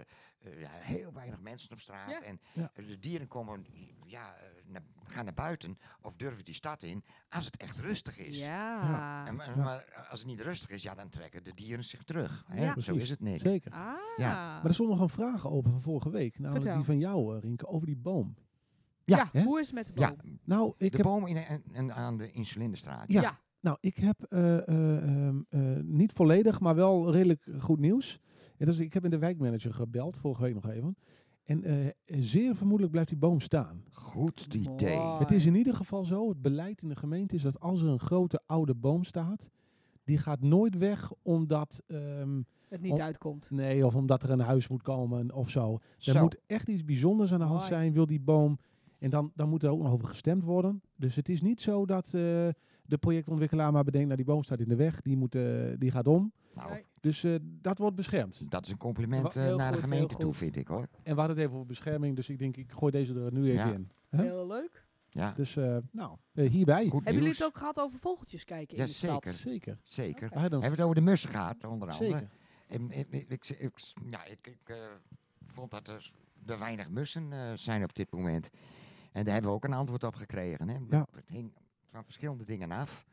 S2: eh, ja, heel weinig mensen op straat.
S3: Ja.
S2: En
S1: Ja.
S2: eh, de dieren komen, ja, eh, naar- gaan naar buiten of durven die stad in als het echt rustig is.
S3: Ja.
S2: En, maar-
S1: Ja.
S2: maar als het niet rustig is, ja, dan trekken de dieren zich terug. Hè?
S3: Ja.
S2: Zo
S1: Precies.
S2: is het niet.
S1: Zeker.
S3: Ah.
S2: Ja.
S1: Maar er stond nog een vraag open van vorige week. Namelijk
S3: Vertel.
S1: die van jou, eh, Rinke, over die boom.
S3: ja.
S2: Ja.
S1: Hè?
S3: Hoe is het met de
S2: Ja,
S3: boom?
S1: Nou, ik
S2: de
S1: heb...
S2: boom in, en, en aan de Insulinderstraat.
S1: Ja.
S3: Ja.
S1: Nou, ik heb eh, eh, ehm, eh, niet volledig, maar wel redelijk goed nieuws. En dat is, ik heb in de wijkmanager gebeld, vorige week nog even. En eh, zeer vermoedelijk blijft die boom staan.
S2: Goed idee.
S3: Mooi.
S1: Het is in ieder geval zo, het beleid in de gemeente is dat als er een grote oude boom staat, die gaat nooit weg omdat, ehm,
S3: Het niet
S2: Oh.
S1: Om-
S3: uitkomt.
S1: nee, of omdat er een huis moet komen of zo. Er
S2: Zo.
S1: moet echt iets bijzonders aan de hand
S3: Mooi.
S1: zijn, wil die boom. En dan, dan moet er ook nog over gestemd worden. Dus het is niet zo dat eh, de projectontwikkelaar maar bedenkt, nou die boom staat in de weg, die, moet, eh, die gaat om.
S2: Nou,
S1: Dus eh, dat wordt beschermd.
S2: dat is een compliment
S1: Wa-
S2: eh,
S3: heel
S2: naar de
S3: goed,
S2: gemeente
S3: heel
S2: toe,
S3: goed.
S2: vind ik hoor.
S1: En we hadden het even over bescherming, dus ik denk ik gooi deze er nu even
S2: Ja.
S1: in. Hè?
S3: Heel leuk.
S2: Ja,
S1: Dus eh, nou, eh, hierbij.
S2: goed
S3: Hebben jullie
S2: nieuws.
S3: het ook gehad over vogeltjes kijken in
S2: Ja,
S3: de stad?
S2: zeker.
S1: Zeker.
S2: Zeker.
S3: Oké.
S1: We hadden
S2: Hebben we het over de mussen gehad, onder andere?
S1: Zeker.
S2: En, en- en- ik, ik, ja, ik, ik eh, vond dat er, er weinig mussen eh, zijn op dit moment. En daar hebben we ook een antwoord op gekregen. Hè?
S1: Ja.
S2: Het hing van verschillende dingen af.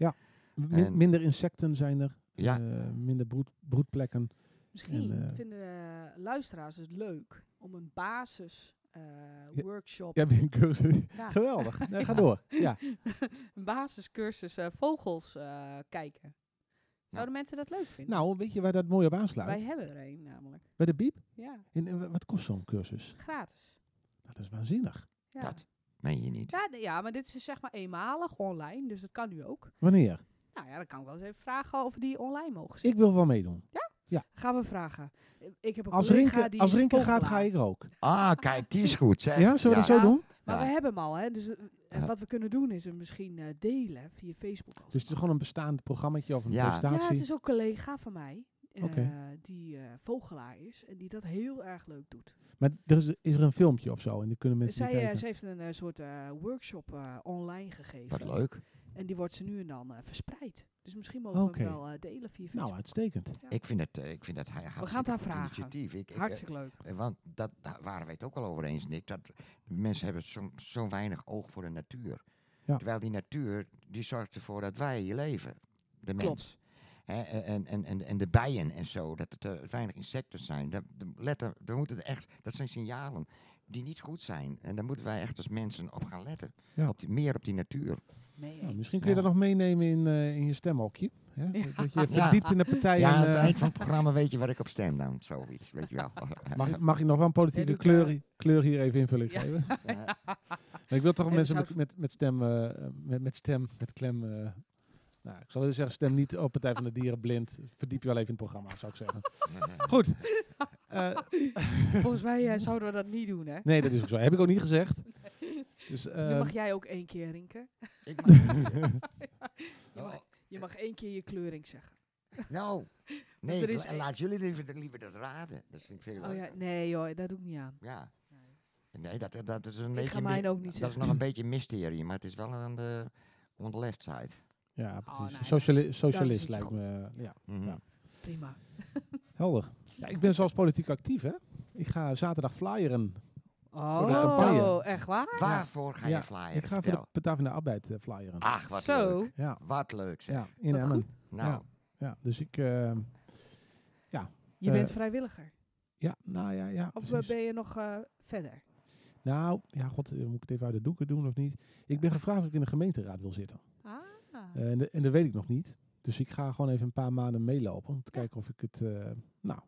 S1: Min-
S2: En-
S1: minder insecten zijn er.
S2: Ja.
S1: eh, minder broed, broedplekken.
S3: Misschien
S1: En, eh,
S3: vinden eh, luisteraars het leuk om een basis eh, workshop,
S1: Jij bent een cursus.
S3: Ja.
S1: Geweldig. Nee, ga door. Ja.
S3: een basiscursus eh, vogels eh, kijken. Zouden mensen dat leuk vinden?
S1: Nou, weet je waar dat mooi op
S3: Wij
S1: aansluit?
S3: hebben er een namelijk.
S1: Bij de Biep.
S3: Ja,
S1: En, en wa- wat kost zo'n cursus?
S3: gratis.
S1: Nou, dat is waanzinnig.
S3: Ja.
S2: Dat meen je niet.
S3: Ja, d- ja, maar dit is dus zeg maar eenmalig online, dus dat kan nu ook.
S1: Wanneer?
S3: Nou ja, dan kan ik wel eens even vragen of we die online mogen zien.
S1: Ik wil wel meedoen.
S3: Gaan we vragen. Eh, Ik heb een
S1: Als
S3: collega
S1: Rinke,
S3: die
S1: als
S3: is
S1: Rinke gaat, ga
S3: vogelaar.
S1: ik er ook.
S2: Ah, kijk, die is goed. Zeg.
S1: Ja, zullen we dat zo
S3: Ja.
S1: doen?
S3: Maar
S2: Ja.
S3: we hebben hem al, hè. Dus eh, en
S1: Ja.
S3: wat we kunnen doen is hem misschien eh, delen via Facebook. als
S1: Dus het
S3: het
S1: is gewoon een bestaand programmaatje of een
S2: Ja.
S1: presentatie.
S3: Ja, het is ook een collega van mij. eh,
S1: Oké.
S3: Die eh, vogelaar is en die dat heel erg leuk doet.
S1: Maar er is, is er een filmpje of zo en die kunnen mensen
S3: Zij,
S1: die
S3: eh,
S1: kijken.
S3: ze heeft een eh, soort eh, workshop eh, online gegeven.
S2: Wat leuk.
S3: En die wordt ze nu en dan eh, verspreid. Dus misschien mogen we hem
S1: Oké.
S3: wel eh, delen via Facebook.
S1: Nou, uitstekend.
S2: Ik vind het, eh, ik vind het hij hartstikke
S3: gaan het haar
S2: goed
S3: vragen.
S2: initiatief. Ik, ik, eh,
S3: Hartstikke leuk.
S2: eh, want dat, daar waren we het ook al over eens, Nick. Dat mensen hebben zo, zo weinig oog voor de natuur.
S1: Ja.
S2: Terwijl die natuur, die zorgt ervoor dat wij hier leven. De
S3: Klopt.
S2: mens. Hè, en, en, en, en de bijen en zo. Dat het eh, weinig insecten zijn. Dat, de- let er, we moeten er echt, dat zijn signalen die niet goed zijn. En daar moeten wij echt als mensen op gaan letten.
S1: Ja.
S2: Op die, meer op die natuur.
S3: Mee
S1: Nou,
S3: eens.
S1: misschien kun je
S2: Ja.
S1: dat nog meenemen in, eh, in je stemhokje. Hè?
S3: Ja.
S1: Dat je
S2: Ja.
S1: verdiept in de partij.
S2: Ja, aan
S1: en,
S2: het
S1: eh,
S2: eind van het programma weet je waar ik op stem dan. Zoiets, weet je wel.
S1: mag, ik- mag ik nog wel een politieke
S3: Jij doet,
S1: kleur,
S3: eh,
S1: kleur hier even invulling
S3: Ja.
S1: geven? Maar ik wil toch
S3: En
S1: mensen
S3: zou-
S1: met, met, met stem, eh, eh, met, met stem, met klem... eh, nou, ik zou willen zeggen, stem niet op Partij van de Dieren blind. Verdiep je wel even in het programma, zou ik zeggen. Goed. Eh,
S3: Volgens mij eh, zouden we dat niet doen, hè?
S1: nee, dat is ook zo. Heb ik ook niet gezegd. Dus,
S3: nu
S1: eh,
S3: mag jij ook één keer rinken.
S2: Ik mag-
S3: Je mag, je mag één keer je kleuring zeggen.
S2: nou, nee,
S3: er
S2: ik
S3: is
S2: la-
S3: e-
S2: laat jullie liever, liever dat raden. Dat vind ik veel
S3: Oh ja,
S2: leuker.
S3: nee joh, dat doe ik niet aan.
S2: Ja. Nee, dat, dat is een
S3: Ik
S2: beetje...
S3: ga
S2: mi-
S3: mijn ook niet
S2: Dat is
S3: zeggen.
S2: nog een beetje mysterie, maar het is wel aan de, on the left side.
S1: ja,
S3: Oh,
S1: precies.
S3: nee,
S1: Sociali-
S3: dat
S1: socialist
S3: is
S1: lijkt
S3: goed.
S1: me. eh, Ja.
S2: Mhm.
S1: Ja.
S3: Prima.
S1: Helder. Ja, ik ben zelfs politiek actief, hè? Ik ga zaterdag flyeren. de campagne.
S3: Oh, echt waar?
S2: Waarvoor ga je
S1: Ja,
S2: flyer?
S1: Ik ga voor de
S2: Vertel.
S1: Partij van de Arbeid eh, flyeren.
S2: Ach, wat
S3: Zo.
S2: leuk.
S1: Ja,
S2: Wat leuk zeg.
S1: ja, in
S3: Wat
S1: Emmen.
S3: goed.
S2: Nou,
S1: Ja, dus ik... eh,
S3: Je bent
S1: Eh,
S3: vrijwilliger.
S1: ja, nou ja, ja.
S3: Of eh,
S1: precies.
S3: ben je nog eh, verder?
S1: Nou, ja, god, eh, moet ik het even uit de doeken doen of niet? Ik ben gevraagd of ik in de gemeenteraad wil zitten.
S3: Ah.
S1: Eh, en, de- en dat weet ik nog niet. Dus ik ga gewoon even een paar maanden meelopen om te kijken of ik het, eh, nou,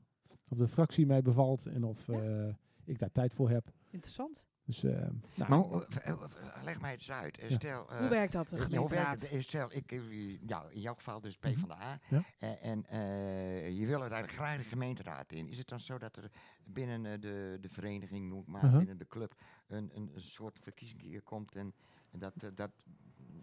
S1: of de fractie mij bevalt en of
S3: Ja.
S1: eh, ik daar tijd voor heb.
S3: Interessant.
S1: Dus, eh, nou,
S2: Maar hoe- eh, eh, leg mij eens uit. Eh,
S1: Ja.
S2: Stel, eh,
S3: Hoe werkt dat, de
S2: Ja, hoe werkt
S3: gemeenteraad?
S2: het? Eh, Stel, ik, eh, ja, in jouw geval dus PvdA.
S1: Ja.
S2: Eh, en eh, je wil uiteindelijk graag de gemeenteraad in. Is het dan zo dat er binnen eh, de, de vereniging, noem ik maar,
S1: Mhm.
S2: binnen de club, een, een, een soort verkiezing hier komt en, en dat, eh, dat,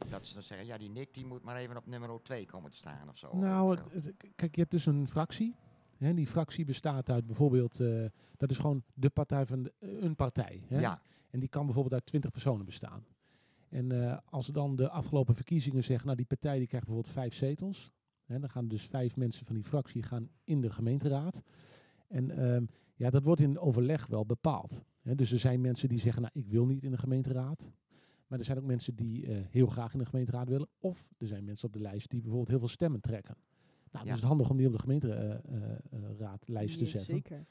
S2: dat ze dan zeggen, ja, die Nick die moet maar even op nummer 2 komen te staan of zo. of
S1: Nou,
S2: Oh, zo.
S1: het- het- kijk, je hebt dus een fractie. Hè, die fractie bestaat uit bijvoorbeeld, eh, dat is gewoon de partij van de- een partij. Hè?
S2: ja,
S1: En die kan bijvoorbeeld uit 20 personen bestaan. En eh, als ze dan de afgelopen verkiezingen zeggen, nou die partij die krijgt bijvoorbeeld vijf zetels. Hè, dan gaan dus vijf mensen van die fractie gaan in de gemeenteraad. En ehm, ja, dat wordt in overleg wel bepaald. Hè, dus er zijn mensen die zeggen, nou ik wil niet in de gemeenteraad. Maar er zijn ook mensen die eh, heel graag in de gemeenteraad willen. Of er zijn mensen op de lijst die bijvoorbeeld heel veel stemmen trekken. Nou, dus
S2: Ja.
S1: het is handig om die op de eh, gemeenteraadlijst te
S3: Ja,
S1: zetten.
S3: Zeker.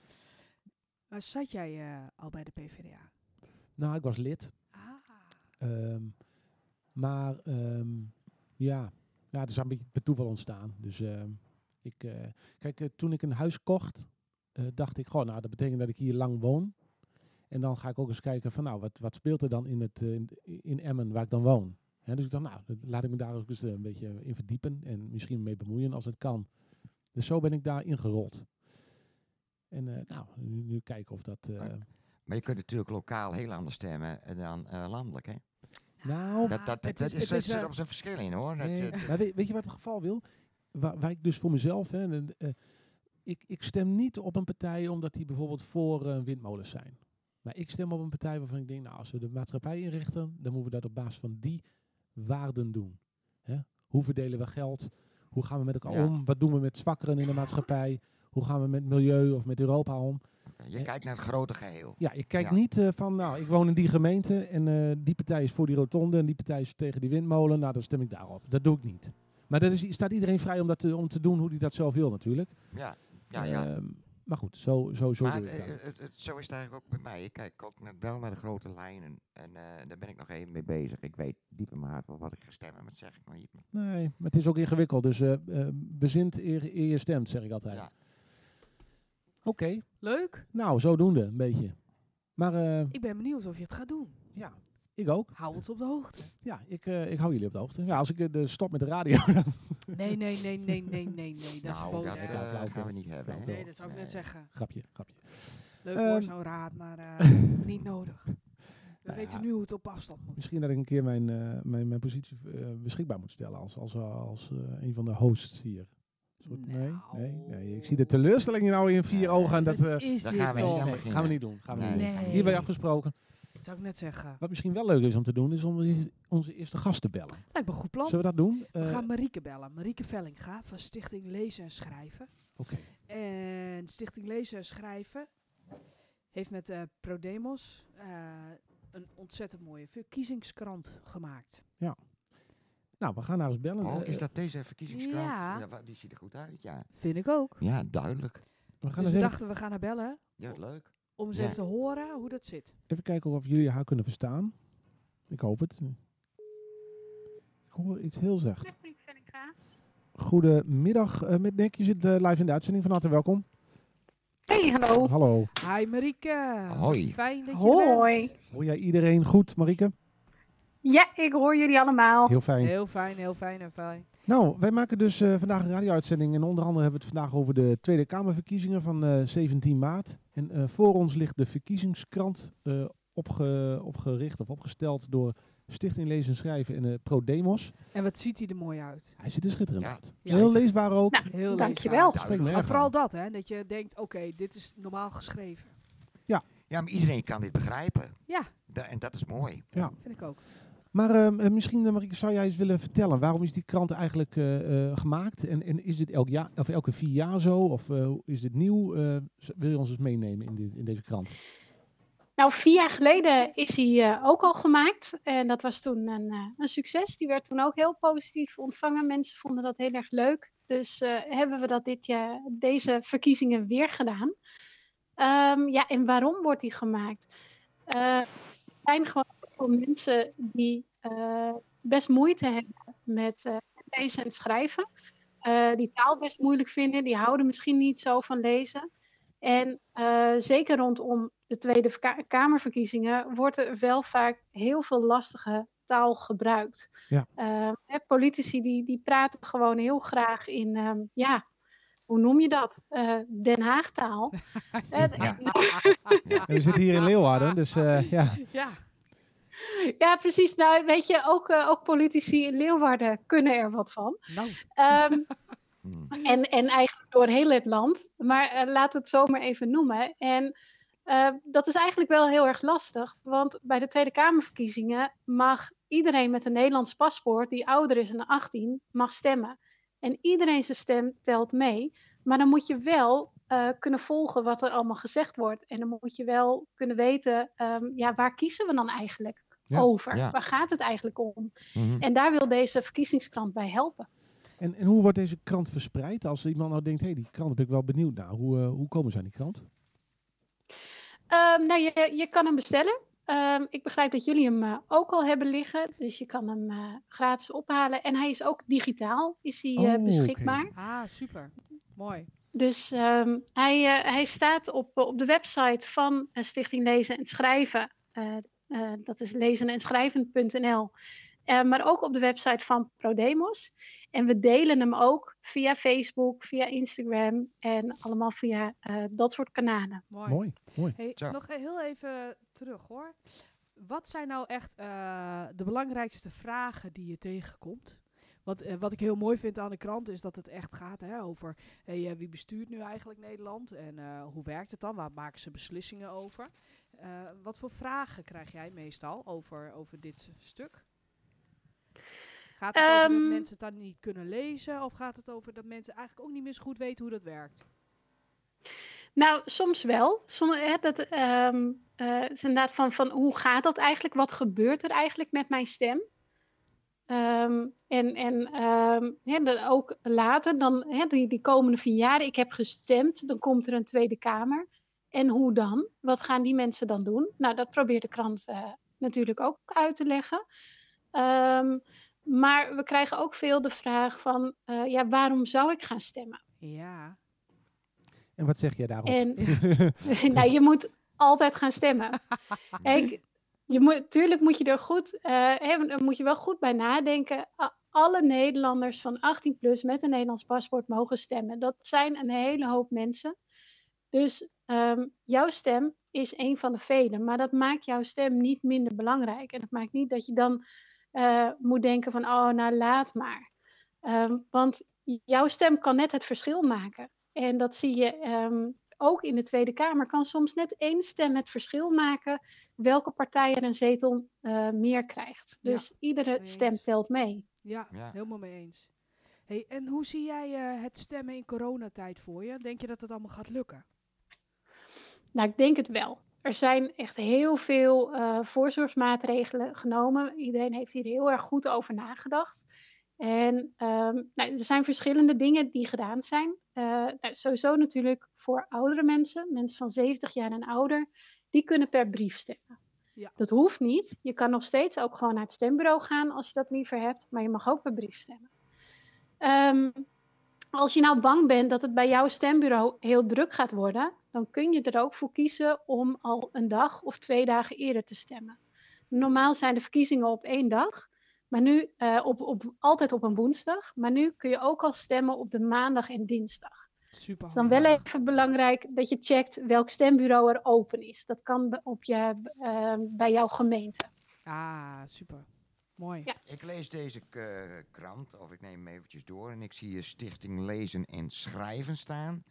S3: Maar zat jij eh, al bij de PvdA?
S1: Nou, ik was lid.
S3: Ah.
S1: Ehm, maar ehm, ja. ja, het is een beetje per toeval ontstaan. Dus ehm, ik, eh, kijk, eh, toen ik een huis kocht, eh, dacht ik gewoon, nou, dat betekent dat ik hier lang woon. En dan ga ik ook eens kijken van, nou, wat, wat speelt er dan in, het, eh, in, in Emmen waar ik dan woon? Hè, dus ik dacht, nou, dat laat ik me daar ook eens eh, een beetje in verdiepen en misschien mee bemoeien als het kan. Dus zo ben ik daar ingerold. En eh, nou, nu, nu kijken of dat... eh,
S2: Maar- maar je kunt natuurlijk lokaal heel anders stemmen dan eh, landelijk, hè?
S1: nou,
S2: dat, dat,
S3: het
S2: dat
S3: is-
S2: is,
S3: het
S2: dat
S3: is
S2: zit
S3: wel-
S2: op zijn verschil in, hoor. Dat,
S1: Nee,
S2: eh, d-
S1: maar weet, weet je wat het geval wil? Waar, waar ik dus voor mezelf, hè, en, eh, ik, ik stem niet op een partij omdat die bijvoorbeeld voor eh, windmolens zijn. Maar ik stem op een partij waarvan ik denk, nou, als we de maatschappij inrichten, dan moeten we dat op basis van die waarden doen. Hè? Hoe verdelen we geld? Hoe gaan we met elkaar
S2: Ja.
S1: om? Wat doen we met zwakkeren in de maatschappij? Hoe gaan we met milieu of met Europa om?
S2: eh, je kijkt naar het grote geheel.
S1: Ja, ik kijk
S2: Ja.
S1: niet eh, van, nou, ik woon in die gemeente en eh, die partij is voor die rotonde en die partij is tegen die windmolen. Nou, dan stem ik daarop. Dat doe ik niet. Maar dat is, staat iedereen vrij om, dat te, om te doen hoe hij dat zelf wil natuurlijk.
S2: Ja, ja, ja.
S1: Ehm, maar goed, zo, zo, zo
S2: maar
S1: doe ik
S2: eh,
S1: dat.
S2: het- het- zo is het eigenlijk ook bij mij. Ik kijk ook naar- wel naar de grote lijnen. En eh, daar ben ik nog even mee bezig. Ik weet diep in mijn hart wel wat ik ga stemmen, maar dat zeg ik nog niet.
S1: Nee, maar het is ook ingewikkeld. Dus eh eh, bezint eer, eer je stemt, zeg ik altijd.
S2: Ja.
S1: Oké,
S3: Leuk.
S1: nou, zodoende een beetje. Maar eh,
S3: Ik ben benieuwd of je het gaat doen.
S1: ja, ik ook.
S3: Hou ons op de hoogte.
S1: Ja, ik, eh, ik hou jullie op de hoogte. Ja, als ik eh, de stop met de radio...
S3: Nee, nee, nee, nee, nee, nee, nee. Dat is
S2: nou, dat
S3: verboden.
S1: ja,
S2: eh,
S1: flauw, flauw,
S2: gaan
S1: flauw.
S2: we niet hebben. hè.
S3: nee, dat zou ik net
S2: Nee.
S3: zeggen.
S1: grapje, grapje.
S3: Leuk
S1: Ehm.
S3: hoor, zo'n raad, maar eh, niet nodig. We
S1: Nou
S3: weten
S1: ja.
S3: nu hoe het op afstand moet.
S1: Misschien dat ik een keer mijn, eh, mijn, mijn positie eh, beschikbaar moet stellen als, als, als eh, een van de hosts hier. Een soort- nee, nee, nee. Ik zie de teleurstelling nou in vier
S2: Nee.
S1: ogen en dat eh,
S3: Wat Nou. is
S2: daar
S3: dit
S2: gaan we niet
S3: toch?
S2: aan
S1: nee,
S2: beginnen.
S1: gaan we niet doen. Gaan we
S2: Nee.
S1: niet doen.
S3: Nee.
S1: Hierbij afgesproken.
S3: Dat zou ik net zeggen. Nou,
S1: Wat misschien wel leuk is om te doen, is om i- onze eerste gast te bellen.
S3: Lijkt me een goed plan.
S1: Zullen we dat doen?
S3: We
S1: Eh,
S3: gaan Marieke bellen. Marieke Vellinga van Stichting Lezen en Schrijven.
S1: Oké.
S3: En Stichting Lezen en Schrijven heeft met eh, ProDemos eh, een ontzettend mooie verkiezingskrant gemaakt.
S1: Nou, we gaan nou eens bellen.
S2: Oh,
S1: Eh,
S2: is dat deze verkiezingskrant?
S3: Ja.
S2: Ja, wa- die ziet er goed uit, ja.
S3: Vind ik ook.
S2: Ja, duidelijk.
S1: we gaan
S3: dus
S1: eens
S3: we
S1: even,
S3: dachten, we gaan haar bellen
S2: Ja, wat leuk.
S3: om eens
S2: Ja.
S3: even te horen hoe dat zit.
S1: even kijken of jullie haar kunnen verstaan. Ik hoop het. Ik hoor iets heel zacht.
S4: Marieke Vellinga.
S1: Goedemiddag eh, met Nick. Je zit eh, live in de uitzending. Van harte welkom.
S4: Hey, hallo.
S1: Hallo.
S3: Hi Marieke. Wat
S2: Hoi.
S3: Fijn dat je er
S4: Hoi.
S3: bent.
S1: Hoor jij iedereen goed, Marieke?
S4: Ja, ik hoor jullie allemaal.
S1: Heel fijn.
S3: Heel fijn, heel fijn en fijn.
S1: Nou, wij maken dus eh, vandaag een radio-uitzending. En onder andere hebben we het vandaag over de Tweede Kamerverkiezingen van eh, 17 maart. En eh, voor ons ligt de verkiezingskrant eh, opge- opgericht of opgesteld door Stichting Lezen en Schrijven en eh ProDemos.
S3: En wat ziet hij er mooi uit.
S1: Hij zit er schitterend
S2: Ja,
S1: uit.
S3: ja.
S1: Heel leesbaar ook.
S4: Nou,
S3: Heel
S4: Dankjewel.
S3: leesbaar.
S1: Spreekt me
S3: Maar
S1: erg
S3: vooral
S1: aan.
S3: dat, hè. Dat je denkt, oké, dit is normaal geschreven.
S2: Ja, maar iedereen kan dit begrijpen.
S3: Ja.
S2: Da- en dat is mooi.
S1: Ja.
S3: Vind ik ook.
S1: Maar ehm, eh, misschien, eh, Marieke, zou jij eens willen vertellen. Waarom is die krant eigenlijk eh, eh, gemaakt? En, en is dit elk jaar, of elke vier jaar zo? Of eh, is dit nieuw? Eh, z- wil je ons eens meenemen in, dit, in deze krant?
S4: Nou, vier jaar geleden is hij eh, ook al gemaakt. En dat was toen een, eh, een succes. Die werd toen ook heel positief ontvangen. Mensen vonden dat heel erg leuk. Dus eh, hebben we dat dit jaar, deze verkiezingen weer gedaan. Ehm, ja, en waarom wordt die gemaakt? Eh, er zijn gewoon voor mensen die eh, best moeite hebben met eh, lezen en schrijven. Eh, die taal best moeilijk vinden. Die houden misschien niet zo van lezen. En eh, zeker rondom de Tweede Verka- Kamerverkiezingen wordt er wel vaak heel veel lastige taal gebruikt.
S1: Ja.
S4: Eh, hè, politici die, die praten gewoon heel graag in, ehm, ja, hoe noem je dat? Eh, Den Haagtaal. Eh,
S2: Ja.
S1: En we zitten hier in Leeuwarden, dus eh, ja.
S3: Ja,
S4: Ja, precies. Nou, weet je, ook, eh, ook politici in Leeuwarden kunnen er wat van.
S3: nou.
S4: Ehm,
S2: Hmm.
S4: en, en eigenlijk door heel het land. Maar eh, laten we het zomaar even noemen. En eh, dat is eigenlijk wel heel erg lastig. Want bij de Tweede Kamerverkiezingen mag iedereen met een Nederlands paspoort die ouder is dan 18, mag stemmen. En iedereen zijn stem telt mee. Maar dan moet je wel eh, kunnen volgen wat er allemaal gezegd wordt. En dan moet je wel kunnen weten, ehm, ja, waar kiezen we dan eigenlijk
S1: Ja,
S4: over?
S2: ja.
S4: Waar gaat het eigenlijk om?
S2: Mhm.
S4: En daar wil deze verkiezingskrant bij helpen.
S1: En, en hoe wordt deze krant verspreid? Als iemand nou denkt, hé, hey, die krant ben ik wel benieuwd naar. Hoe, eh, hoe komen ze aan die krant?
S4: Ehm, nou, je, je kan hem bestellen. Ehm, ik begrijp dat jullie hem eh, ook al hebben liggen. Dus je kan hem eh, gratis ophalen. En hij is ook digitaal is hij, eh,
S1: Oh, oké.
S4: beschikbaar.
S3: Ah, super. Mooi.
S4: Dus ehm, hij, eh, hij staat op, eh, op de website van eh, Stichting Lezen en Schrijven. Eh, eh, dat is lezenenschrijven.nl. Eh, maar ook op de website van ProDemos. En we delen hem ook via Facebook, via Instagram en allemaal via eh, dat soort kanalen.
S3: Mooi.
S1: Mooi, mooi.
S3: Hey,
S2: Zo.
S3: nog heel even terug hoor. Wat zijn nou echt eh, de belangrijkste vragen die je tegenkomt? Wat, eh, wat ik heel mooi vind aan de krant is dat het echt gaat hè, over hey, eh, wie bestuurt nu eigenlijk Nederland en eh, hoe werkt het dan? Waar maken ze beslissingen over? Eh, wat voor vragen krijg jij meestal over, over dit stuk? Gaat het over
S4: Ehm.
S3: dat mensen het dan niet kunnen lezen of gaat het over dat mensen eigenlijk ook niet meer zo goed weten hoe dat werkt?
S4: Nou, soms wel. Sommige, hè, dat, ehm, eh, het is inderdaad van, van hoe gaat dat eigenlijk? Wat gebeurt er eigenlijk met mijn stem? Ehm, en en ehm, hè, dan ook later, dan, hè, die, die komende vier jaar, ik heb gestemd, dan komt er een Tweede Kamer. En hoe dan? Wat gaan die mensen dan doen? Nou, dat probeert de krant eh, natuurlijk ook uit te leggen. Ehm, maar we krijgen ook veel de vraag van, eh, ja, waarom zou ik gaan stemmen?
S3: Ja.
S1: En wat zeg jij daarop?
S4: En nou, je moet altijd gaan stemmen. Kijk, je moet, tuurlijk moet je er goed, eh, hè, want daar moet je wel goed bij nadenken. Ah, A- Alle Nederlanders van 18 plus met een Nederlands paspoort mogen stemmen. Dat zijn een hele hoop mensen. Dus ehm, jouw stem is een van de velen. Maar dat maakt jouw stem niet minder belangrijk. En dat maakt niet dat je dan eh, moet denken van, oh, nou laat maar. Ehm, want jouw stem kan net het verschil maken. En dat zie je ehm, ook in de Tweede Kamer kan soms net één stem het verschil maken welke partij er een zetel eh, meer krijgt.
S3: Ja,
S4: Dus iedere
S3: eens.
S4: stem telt mee.
S3: Ja,
S2: Ja.
S3: helemaal mee eens. Hey, en hoe zie jij eh, het stemmen in coronatijd voor je? Denk je dat het allemaal gaat lukken?
S4: Nou, ik denk het wel. Er zijn echt heel veel eh, voorzorgsmaatregelen genomen. Iedereen heeft hier heel erg goed over nagedacht. En ehm, nou, er zijn verschillende dingen die gedaan zijn. Eh, nou, sowieso natuurlijk voor oudere mensen, mensen van 70 jaar en ouder, die kunnen per brief stemmen.
S3: Ja.
S4: Dat hoeft niet. Je kan nog steeds ook gewoon naar het stembureau gaan als je dat liever hebt, maar je mag ook per brief stemmen. Ehm, als je nou bang bent dat het bij jouw stembureau heel druk gaat worden, dan kun je er ook voor kiezen om al een dag of twee dagen eerder te stemmen. Normaal zijn de verkiezingen op één dag, maar nu eh, op, op, altijd op een woensdag. Maar nu kun je ook al stemmen op de maandag en dinsdag.
S3: Super.
S4: Het is dan wel even belangrijk dat je checkt welk stembureau er open is. Dat kan be- op je, eh, bij jouw gemeente.
S3: Ah, super. Mooi.
S4: Ja.
S2: Ik lees deze eh, krant, of ik neem hem eventjes door, en ik zie hier Stichting Lezen en Schrijven staan.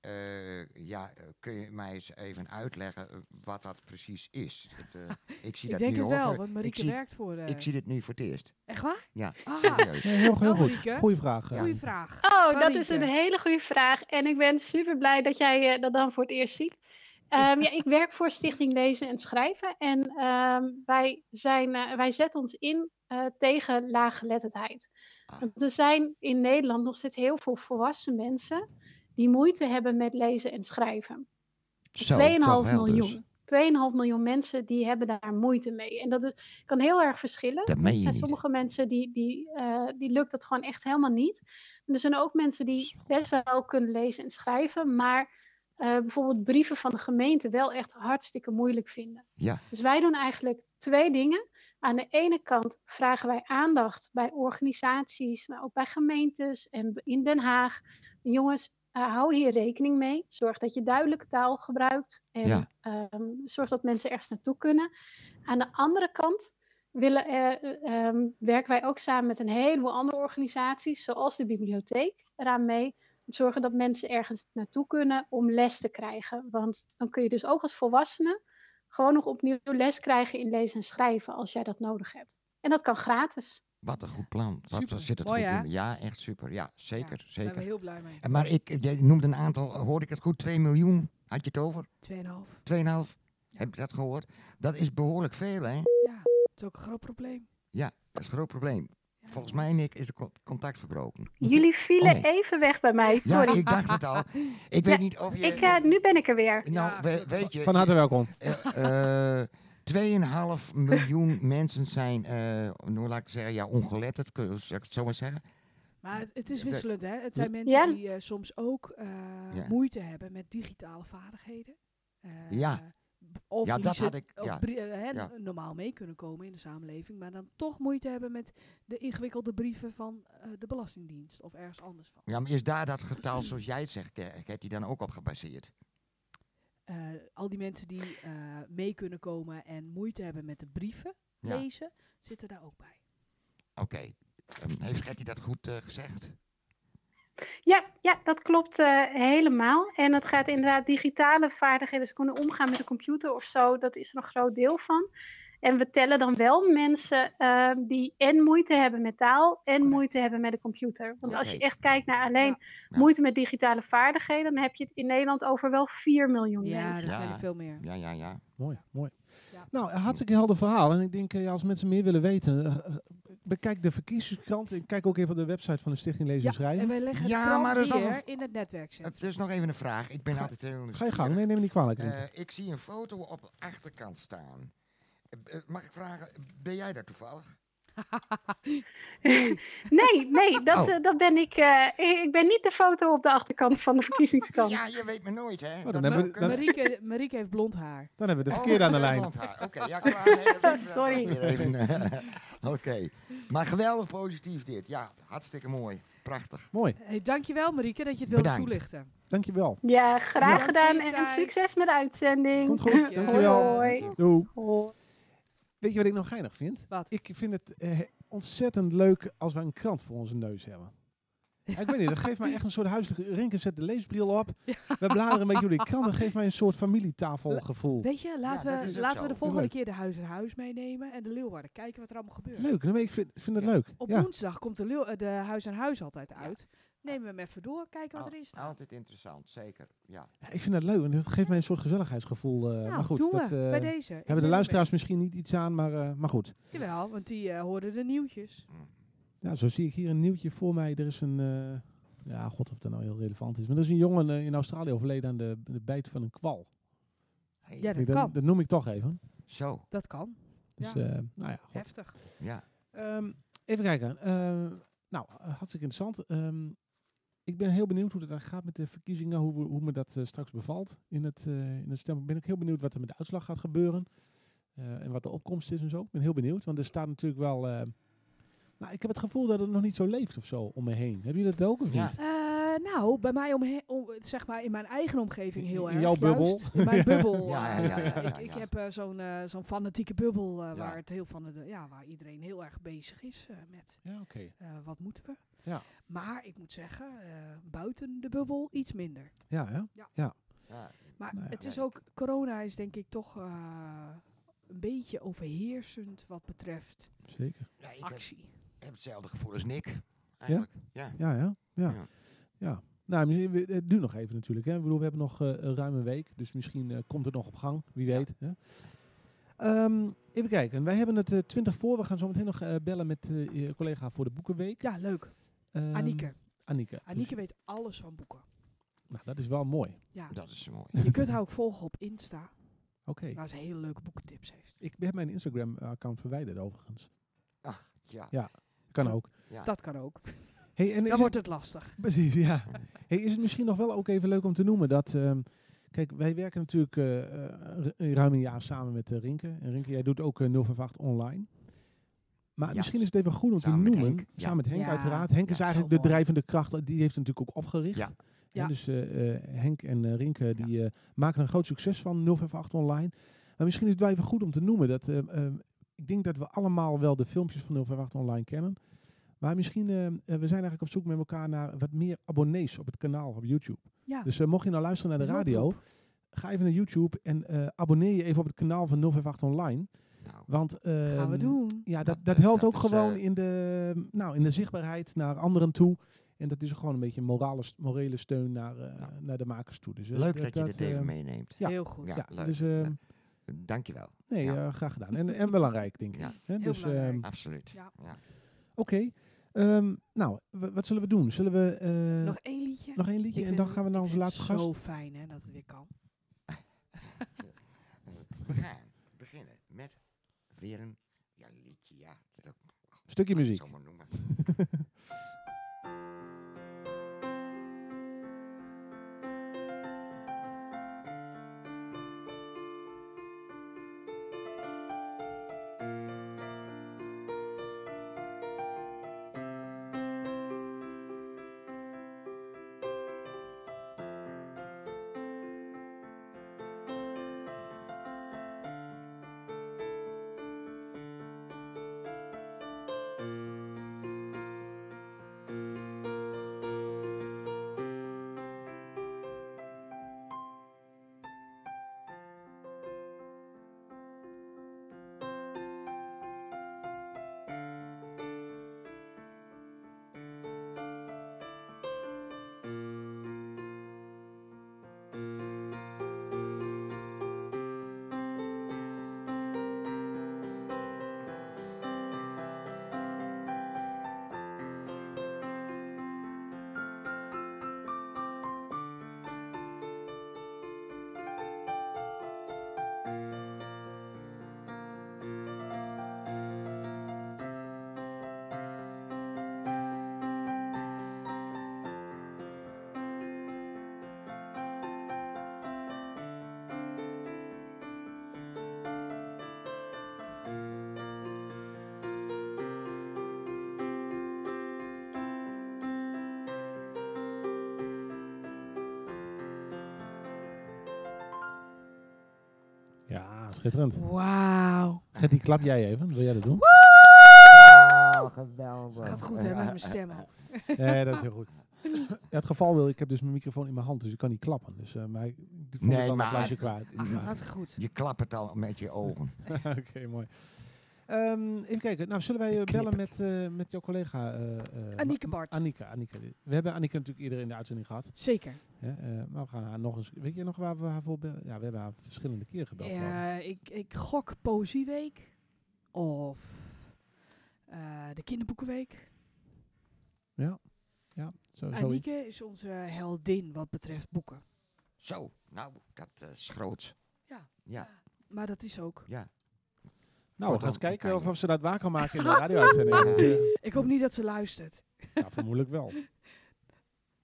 S2: Eh, ja, eh, kun je mij eens even uitleggen eh, wat dat precies is? Het, eh, ik zie
S3: Ik
S2: dat
S3: denk
S2: nu
S3: het
S2: hoor,
S3: wel,
S2: voor-
S3: want
S2: ik
S3: Marieke
S2: zie,
S3: werkt voor... eh,
S2: Ik zie dit nu voor het eerst.
S3: Echt waar?
S2: Ja,
S3: Ah,
S2: serieus.
S1: Nee, heel, heel
S3: Wel,
S1: goed.
S3: Marieke.
S1: Goeie vraag. eh.
S3: goeie vraag.
S4: Oh, dat
S3: Marieke.
S4: is een hele goede vraag. En ik ben super blij dat jij eh, dat dan voor het eerst ziet. Ehm, ja, ik werk voor Stichting Lezen en Schrijven. En ehm, wij, zijn, eh, wij zetten ons in eh, tegen laaggeletterdheid.
S2: Ah.
S4: Want er zijn in Nederland nog steeds heel veel volwassen mensen die moeite hebben met lezen en schrijven.
S2: Zo,
S4: 2,5
S2: toch wel dus.
S4: miljoen. 2,5 miljoen mensen die hebben daar moeite mee. En dat is- kan heel erg verschillen.
S2: Dat meen
S4: Er
S2: je
S4: zijn
S2: niet.
S4: sommige mensen die, die, eh, die lukt dat gewoon echt helemaal niet. En er zijn ook mensen die
S2: Zo.
S4: best wel kunnen lezen en schrijven, maar eh, bijvoorbeeld brieven van de gemeente wel echt hartstikke moeilijk vinden.
S2: Ja.
S4: Dus wij doen eigenlijk twee dingen. Aan de ene kant vragen wij aandacht bij organisaties, maar ook bij gemeentes en b- in Den Haag. Jongens, eh, hou hier rekening mee. Zorg dat je duidelijke taal gebruikt en
S2: Ja.
S4: ehm, zorg dat mensen ergens naartoe kunnen. Aan de andere kant willen, eh, eh, ehm, werken wij ook samen met een heleboel andere organisaties, zoals de bibliotheek, eraan mee om te zorgen dat mensen ergens naartoe kunnen om les te krijgen. Want dan kun je dus ook als volwassene gewoon nog opnieuw les krijgen in lezen en schrijven als jij dat nodig hebt. En dat kan gratis.
S2: Wat een goed plan. Wat
S1: Super.
S2: zit het
S3: Mooi,
S2: goed
S3: hè?
S2: in. Ja, echt super. Ja, zeker,
S3: Daar zijn we
S2: zeker.
S3: heel blij mee. 2,5.
S2: En Maar ik, jij noemde een aantal, eh, hoorde ik het goed, 2 miljoen. Had je het over? 2,5. Heb je dat gehoord? Dat is behoorlijk veel, hè?
S3: Ja, het is ook een groot probleem.
S2: Ja, dat is een groot probleem.
S3: Ja,
S2: Volgens mij, Nick, is de co- contact verbroken.
S4: Jullie vielen
S2: Oh, nee.
S4: even weg bij mij,
S2: Ja,
S4: sorry.
S2: ik dacht het al. Ik weet
S4: Ja,
S2: niet of je...
S4: ik, eh, nu ben ik er weer.
S2: nou,
S3: Ja,
S2: we-
S3: gelukkig.
S2: weet je...
S1: Van harte welkom.
S2: eh, eh, 2,5 miljoen mensen zijn, eh hoe laat ik het zeggen, ja, ongeletterd, kun je zou ik het zo maar zeggen.
S3: Maar het, het is
S2: Ja, de-
S3: wisselend, hè? Het zijn mensen
S4: Ja.
S3: die eh, soms ook eh,
S2: Ja.
S3: moeite hebben met digitale vaardigheden. Eh,
S2: Ja.
S3: b- Of
S2: Ja, dat
S3: liever-
S2: had ik-
S3: of
S2: ja.
S3: brie- eh, hè,
S2: Ja.
S3: n- normaal mee kunnen komen in de samenleving, maar dan toch moeite hebben met de ingewikkelde brieven van eh, de Belastingdienst of ergens anders van.
S2: Ja, maar is daar dat getal, zoals jij het zegt, Ger- Gert, die dan ook op gebaseerd?
S3: Eh, al die mensen die eh, mee kunnen komen en moeite hebben met de brieven
S2: Ja.
S3: lezen, zitten daar ook bij.
S2: Oké. Ehm, heeft Gertie dat goed eh, gezegd?
S4: Ja, ja dat klopt eh, helemaal. En het gaat inderdaad digitale vaardigheden, dus kunnen omgaan met de computer of zo, dat is er een groot deel van. En we tellen dan wel mensen eh, die en moeite hebben met taal en
S3: Correct.
S4: moeite hebben met de computer. Want als je
S2: Oké.
S4: echt kijkt naar
S2: Ja.
S4: alleen moeite met digitale vaardigheden, dan heb je het in Nederland over wel 4 miljoen
S3: Ja,
S4: mensen.
S3: dat zijn
S2: Ja.
S3: er veel meer.
S2: Ja, ja, ja.
S1: Mooi, mooi.
S3: Ja.
S1: Nou, een hartstikke helder verhaal. En ik denk, eh, ja, als mensen meer willen weten, eh, eh, bekijk de verkiezingskrant. En kijk ook even op de website van de Stichting Lezen
S3: Ja,
S1: en Schrijven.
S3: en wij leggen
S2: Ja,
S3: het
S2: maar
S3: maar
S2: er is nog
S3: weer
S2: een-
S3: in het netwerkcentrum.
S2: Het is nog even een vraag. Ik ben altijd heel
S1: Ga je
S2: nieuwsgierig.
S1: gang. Nee, neem me niet kwalijk. Rinke.
S2: Eh, ik zie een foto op de achterkant staan. Eh, eh, mag ik vragen, ben jij daar toevallig?
S4: Nee, nee, dat,
S2: Oh.
S4: eh, dat ben ik. eh, ik ik ben niet de foto op de achterkant van de verkiezingskrant.
S2: Ja, je weet me nooit, hè?
S1: Oh, dan hebben we-
S2: zou kunnen.
S3: Marieke, Marieke heeft blond haar.
S1: Dan hebben we de
S2: Oh,
S1: verkeerde aan de
S2: met
S1: lijn.
S2: blond haar. Oké, ja, klaar. Nee, dat weet ik wel.
S4: Sorry.
S2: Weer even, eh, Oké, maar geweldig positief dit. Ja, hartstikke mooi. Prachtig.
S1: Mooi,
S3: Hey, dankjewel Marieke dat je het wilde
S2: Bedankt.
S3: toelichten.
S1: dankjewel.
S4: Ja, graag
S3: Ja.
S4: gedaan
S3: Goeie
S4: en
S3: tijd.
S4: succes met de uitzending.
S1: Komt goed,
S3: Ja.
S1: dankjewel.
S4: Hoi.
S1: Doei.
S4: Hoi.
S1: Weet je wat ik nog geinig vind?
S3: Wat?
S1: Ik vind het eh, ontzettend leuk als wij een krant voor onze neus hebben. Ja, ik weet niet, dat geeft mij echt een soort huiselijke... Rinken zet de leesbril op. We bladeren met jullie krant. Dat geeft mij een soort familietafelgevoel.
S3: Weet je, laten,
S2: Ja, dat is
S3: we,
S2: ook
S3: laten
S2: zo.
S3: we de volgende
S1: Leuk.
S3: keer de huis in huis meenemen en de Leeuwarden. Kijken wat er allemaal gebeurt.
S1: Leuk, nee, maar ik vind, vind het
S2: Ja.
S1: leuk.
S3: Op
S1: ja.
S3: woensdag komt de, Leeuw- eh, de huis aan huis altijd uit. Nemen we hem even door, kijken wat
S2: Al-
S3: erin staat.
S2: altijd interessant, zeker. Ja.
S1: Ja, ik vind dat leuk, want dat geeft mij een soort gezelligheidsgevoel. eh,
S3: Nou,
S1: maar goed,
S3: doen
S1: dat
S3: we
S1: eh,
S3: bij deze. Ik
S1: hebben
S3: ben
S1: de
S3: er
S1: luisteraars misschien niet iets aan, maar, eh, maar goed.
S3: mee. Jawel, want die eh, hoorden de nieuwtjes.
S1: Ja, zo zie ik hier een nieuwtje voor mij. Er is een, eh, ja, god of dat nou heel relevant is, maar er is een jongen eh, in Australië overleden aan de, de bijt van een kwal.
S2: Hey,
S3: Ja, dat
S1: Kijk, dat,
S3: kan.
S1: dat noem ik toch even.
S2: Zo,
S3: Dat kan.
S1: Dus,
S3: Ja.
S1: eh, nou ja, goed.
S3: Heftig.
S2: ja.
S1: Ehm, even kijken. Ehm, nou, eh, hartstikke interessant. Ehm, ik ben heel benieuwd hoe dat dan gaat met de verkiezingen, hoe, we- hoe me dat eh, straks bevalt in het, eh in het stemmen. Ik ben ook heel benieuwd wat er met de uitslag gaat gebeuren eh, en wat de opkomst is en zo. Ik ben heel benieuwd, want er staat natuurlijk wel... eh, nou, ik heb het gevoel dat het nog niet zo leeft of zo om me heen. Hebben jullie dat ook of
S2: Ja.
S1: niet?
S3: Eh, nou, bij mij om, om- zeg maar in mijn eigen omgeving heel
S1: In
S3: erg.
S1: jouw bubbel.
S3: juist. In mijn bubbel.
S2: Ja,
S3: eh,
S2: ja, ja, ja,
S3: ik, ik
S2: ja.
S3: heb eh, zo'n eh, zo'n fanatieke bubbel eh,
S2: Ja.
S3: waar, het heel van de, ja, waar iedereen heel erg bezig is eh, met
S1: Ja, oké.
S3: eh, wat moeten we.
S1: Ja.
S3: Maar ik moet zeggen, eh, buiten de bubbel iets minder.
S1: Ja, hè?
S2: ja.
S3: Maar
S1: Nou ja.
S3: het is
S2: Ja,
S3: ook, corona is denk ik toch eh, een beetje overheersend wat betreft
S1: zeker.
S2: Ja, ik heb,
S3: actie.
S2: heb hetzelfde gevoel als Nick. Eigenlijk. Ja.
S1: Ja, ja, ja. ja.
S2: Ja.
S1: Nou, misschien- we- het duurt nog even natuurlijk. Hè. Ik bedoel, we hebben nog eh, ruim een week, dus misschien eh, komt het nog op gang. Wie weet. Hè. Ehm, even kijken. Wij hebben het eh, 20 voor. We gaan zo meteen nog eh, bellen met eh, je collega voor de Boekenweek.
S3: Ja, leuk.
S1: Ehm,
S3: Anieke.
S1: Anieke. Dus-
S3: Anieke weet alles van boeken.
S1: nou, dat is wel mooi.
S3: Ja.
S2: Dat is mooi.
S3: Je kunt haar ook volgen op Insta.
S1: Oké.
S3: Waar ze hele leuke boekentips heeft.
S1: Ik heb mijn Instagram-account verwijderd overigens.
S2: Ach, ja.
S1: Kan ook.
S2: ja.
S3: Dat kan ook.
S1: Hey, en is
S3: Dan
S1: het-
S3: wordt het lastig.
S1: Precies, ja. Hey, is het misschien nog wel ook even leuk om te noemen dat ehm, Kijk, wij werken natuurlijk eh, eh, ru- ruim een jaar samen met eh, Rinke. En Rinke, jij doet ook eh, 0 van 8 online. Maar
S2: Ja.
S1: misschien is het even goed om
S2: Samen
S1: te
S2: met
S1: noemen.
S2: Henk. Ja.
S1: Samen met Henk,
S3: Ja.
S1: uiteraard. Henk
S2: Ja,
S1: is
S3: zo
S1: eigenlijk de
S3: mooi.
S1: drijvende kracht. eh, Die heeft het natuurlijk ook opgericht.
S2: Ja.
S1: Hè,
S3: Ja.
S1: dus eh, eh, Henk en eh, Rinke die, eh, maken er een groot succes van, 0 van 8 online. Maar misschien is het wel even goed om te noemen dat... eh, eh, ik denk dat we allemaal wel de filmpjes van 0 van 8 online kennen. Maar misschien, eh, eh, we zijn eigenlijk op zoek met elkaar naar wat meer abonnees op het kanaal op YouTube.
S3: Ja.
S1: Dus eh, mocht je nou luisteren naar de
S3: Dat is een
S1: radio, ga even naar YouTube en eh, abonneer je even op het kanaal van 058 Online.
S2: Nou,
S1: Want eh,
S3: gaan we doen.
S1: Ja, dat,
S2: Dat,
S1: dat
S2: eh,
S1: helpt
S2: dat
S1: ook
S2: is,
S1: gewoon
S2: eh,
S1: in, de, nou, in de zichtbaarheid naar anderen toe. En dat is gewoon een beetje een morale, st- morele steun naar, eh,
S2: Ja.
S1: naar de makers toe. Dus, eh,
S2: leuk dat, je dit
S1: eh,
S2: even meeneemt.
S1: ja.
S3: Heel goed.
S1: Ja,
S2: Ja, leuk.
S1: dus eh,
S2: Ja. Dankjewel.
S1: nee,
S2: Ja.
S1: eh, graag gedaan. En, en belangrijk, denk ik.
S2: Ja.
S1: Hè,
S3: Heel
S1: dus, eh,
S3: belangrijk.
S2: Absoluut.
S3: Ja.
S2: Ja.
S1: Oké, Ehm, nou, w- wat zullen we doen? Zullen we eh,
S3: Nog één liedje.
S1: nog één
S3: Ik
S1: liedje en
S3: vind
S1: dan
S3: het-
S1: gaan we naar
S3: ik
S1: onze
S3: vind
S1: laatste
S3: het
S1: gast?
S3: Zo fijn hè, dat het weer kan.
S2: We gaan beginnen met weer een ja, liedje. Ja, dat
S1: Stukje
S2: kan ik
S1: muziek.
S2: zo maar noemen.
S1: Ja, schitterend.
S3: Wauw.
S1: Gert, die klap jij even. Wil jij dat doen?
S2: Ja, geweldig.
S3: Gaat goed hè, met mijn stem al.
S1: Nee, dat is heel goed. Ja, het geval wil, ik heb dus mijn microfoon in mijn hand, dus ik kan niet klappen. Dus, eh maar ik die vond
S2: Nee,
S1: ik wel een
S2: maar-
S1: applausje kwaad.
S3: Ah, gaat
S2: Ja.
S3: hartstikke goed.
S2: Je klapt het al met je ogen.
S1: Oké, mooi. Ehm, even kijken. Nou, zullen wij eh, bellen met, eh, met jouw collega? eh, eh,
S3: Annieke
S1: Ma-
S3: Bart.
S1: Annieke, Annieke. We hebben Annieke natuurlijk eerder in de uitzending gehad.
S3: Zeker.
S1: Hè? eh, maar we gaan haar nog eens... Weet je nog waar we haar voor bellen? Ja, we hebben haar verschillende keren gebeld. geloof ik.
S3: Ja, ik, ik gok Poëzieweek. Of eh, de Kinderboekenweek.
S1: Oh, Zo, zoiets.
S3: Annieke is onze heldin wat betreft boeken.
S2: Zo, nou, dat eh, is groots.
S3: Ja.
S2: Ja,
S3: Maar dat is ook.
S2: ja.
S1: Nou, we gaan
S2: Kortom,
S1: eens kijken
S2: kan
S1: of,
S2: je-
S1: of ze dat waar kan maken in de radio-uitzending.
S2: Ja.
S1: Eh,
S3: Ik hoop niet dat ze luistert.
S1: ja, vermoedelijk wel.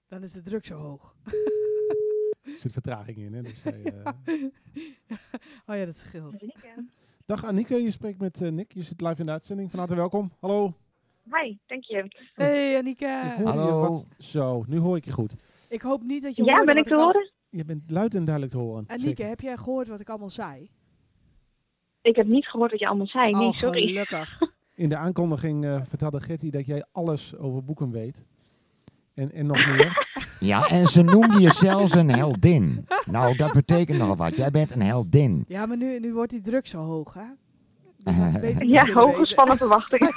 S3: Dan is de druk zo hoog.
S1: Er zit vertraging in, hè. Dus, zij, eh,
S3: Oh ja, dat scheelt.
S1: Dag Annieke, je spreekt met eh, Nick. Je zit live in de uitzending. Van harte welkom. Hallo.
S5: Hi, dank je.
S3: Hey
S1: Ik
S3: Annieke.
S1: hoor je
S2: Hallo.
S1: wat- Zo, nu hoor ik je goed.
S3: Ik hoop niet dat je
S5: Ja,
S3: hoorde
S5: ben ik
S3: wat
S5: te
S3: al-
S5: horen?
S1: Je bent luid en duidelijk te horen.
S3: Annieke,
S1: Zeker.
S3: heb jij gehoord wat ik allemaal zei?
S5: Ik heb niet gehoord wat je allemaal zei. Nee,
S3: oh,
S5: sorry.
S3: gelukkig.
S1: In de aankondiging eh, vertelde Gertie dat jij alles over boeken weet. En, en nog meer.
S2: Ja, en ze noemde je zelfs een heldin. Nou, dat betekent nogal wat. Jij bent een heldin.
S3: Ja, maar nu, nu wordt die druk zo hoog, hè? Dus dat is beter niet
S5: Ja,
S3: kunnen
S5: hoog
S3: weten.
S5: gespannen verwachtingen.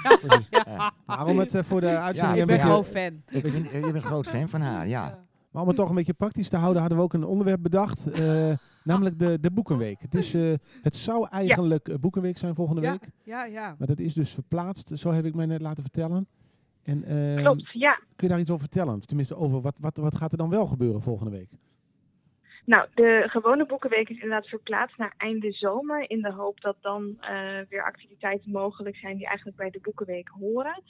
S1: Maar om het eh, voor de uitzending
S2: Ja,
S3: Ik
S1: een
S3: ben
S1: beetje,
S3: gewoon fan.
S2: Ik vind, eh, je bent een groot fan van haar, ja.
S1: maar om het toch een beetje praktisch te houden, hadden we ook een onderwerp bedacht. eh, namelijk de, de Boekenweek. Het, is, eh, het zou eigenlijk eh, Boekenweek zijn volgende
S3: Ja,
S1: week.
S3: ja, ja.
S1: Maar dat is dus verplaatst. Zo heb ik mij net laten vertellen. En, ehm,
S5: Klopt, ja.
S1: Kun je daar iets over vertellen? Of Tenminste, over wat, wat, wat gaat er dan wel gebeuren volgende week?
S5: Nou, de gewone boekenweek is inderdaad verplaatst naar einde zomer. In de hoop dat dan eh, weer activiteiten mogelijk zijn die eigenlijk bij de boekenweek horen.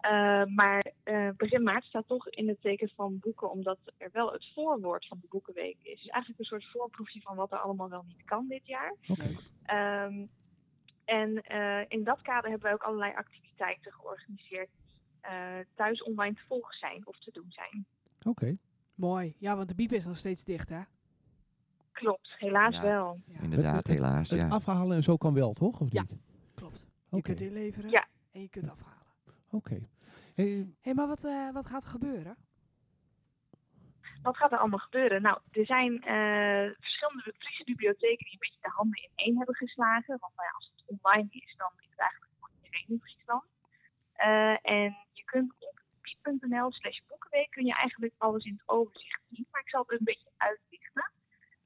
S5: Eh, maar eh, begin maart staat toch in het teken van boeken, omdat er wel het voorwoord van de Boekenweek is. Dus eigenlijk een soort voorproefje van wat er allemaal wel niet kan dit jaar.
S1: Oké.
S5: Ehm, en eh, in dat kader hebben wij ook allerlei activiteiten georganiseerd die eh, thuis online te volgen zijn of te doen zijn.
S1: Oké.
S3: Mooi. Ja, want de biep is nog steeds dicht, hè?
S5: Klopt, helaas
S2: Ja.
S5: wel.
S3: Ja,
S2: Inderdaad, helaas.
S1: Het
S2: Ja.
S1: afhalen en zo kan wel, toch? Of
S3: Ja.
S1: niet?
S3: klopt. Je
S1: Oké.
S3: kunt inleveren
S5: Ja.
S3: en je kunt afhalen.
S1: Oké. Hey,
S3: Hé, hey, maar wat, eh, wat gaat er gebeuren?
S5: Wat gaat er allemaal gebeuren? Nou, er zijn eh, verschillende Friese bibliotheken die een beetje de handen in één hebben geslagen. Want nou ja, als het online is, dan is het eigenlijk voor iedereen in Friesland. Eh, en je kunt op piet.nl slash boekenweek kun je eigenlijk alles in het overzicht zien. Maar ik zal het een beetje uitlichten.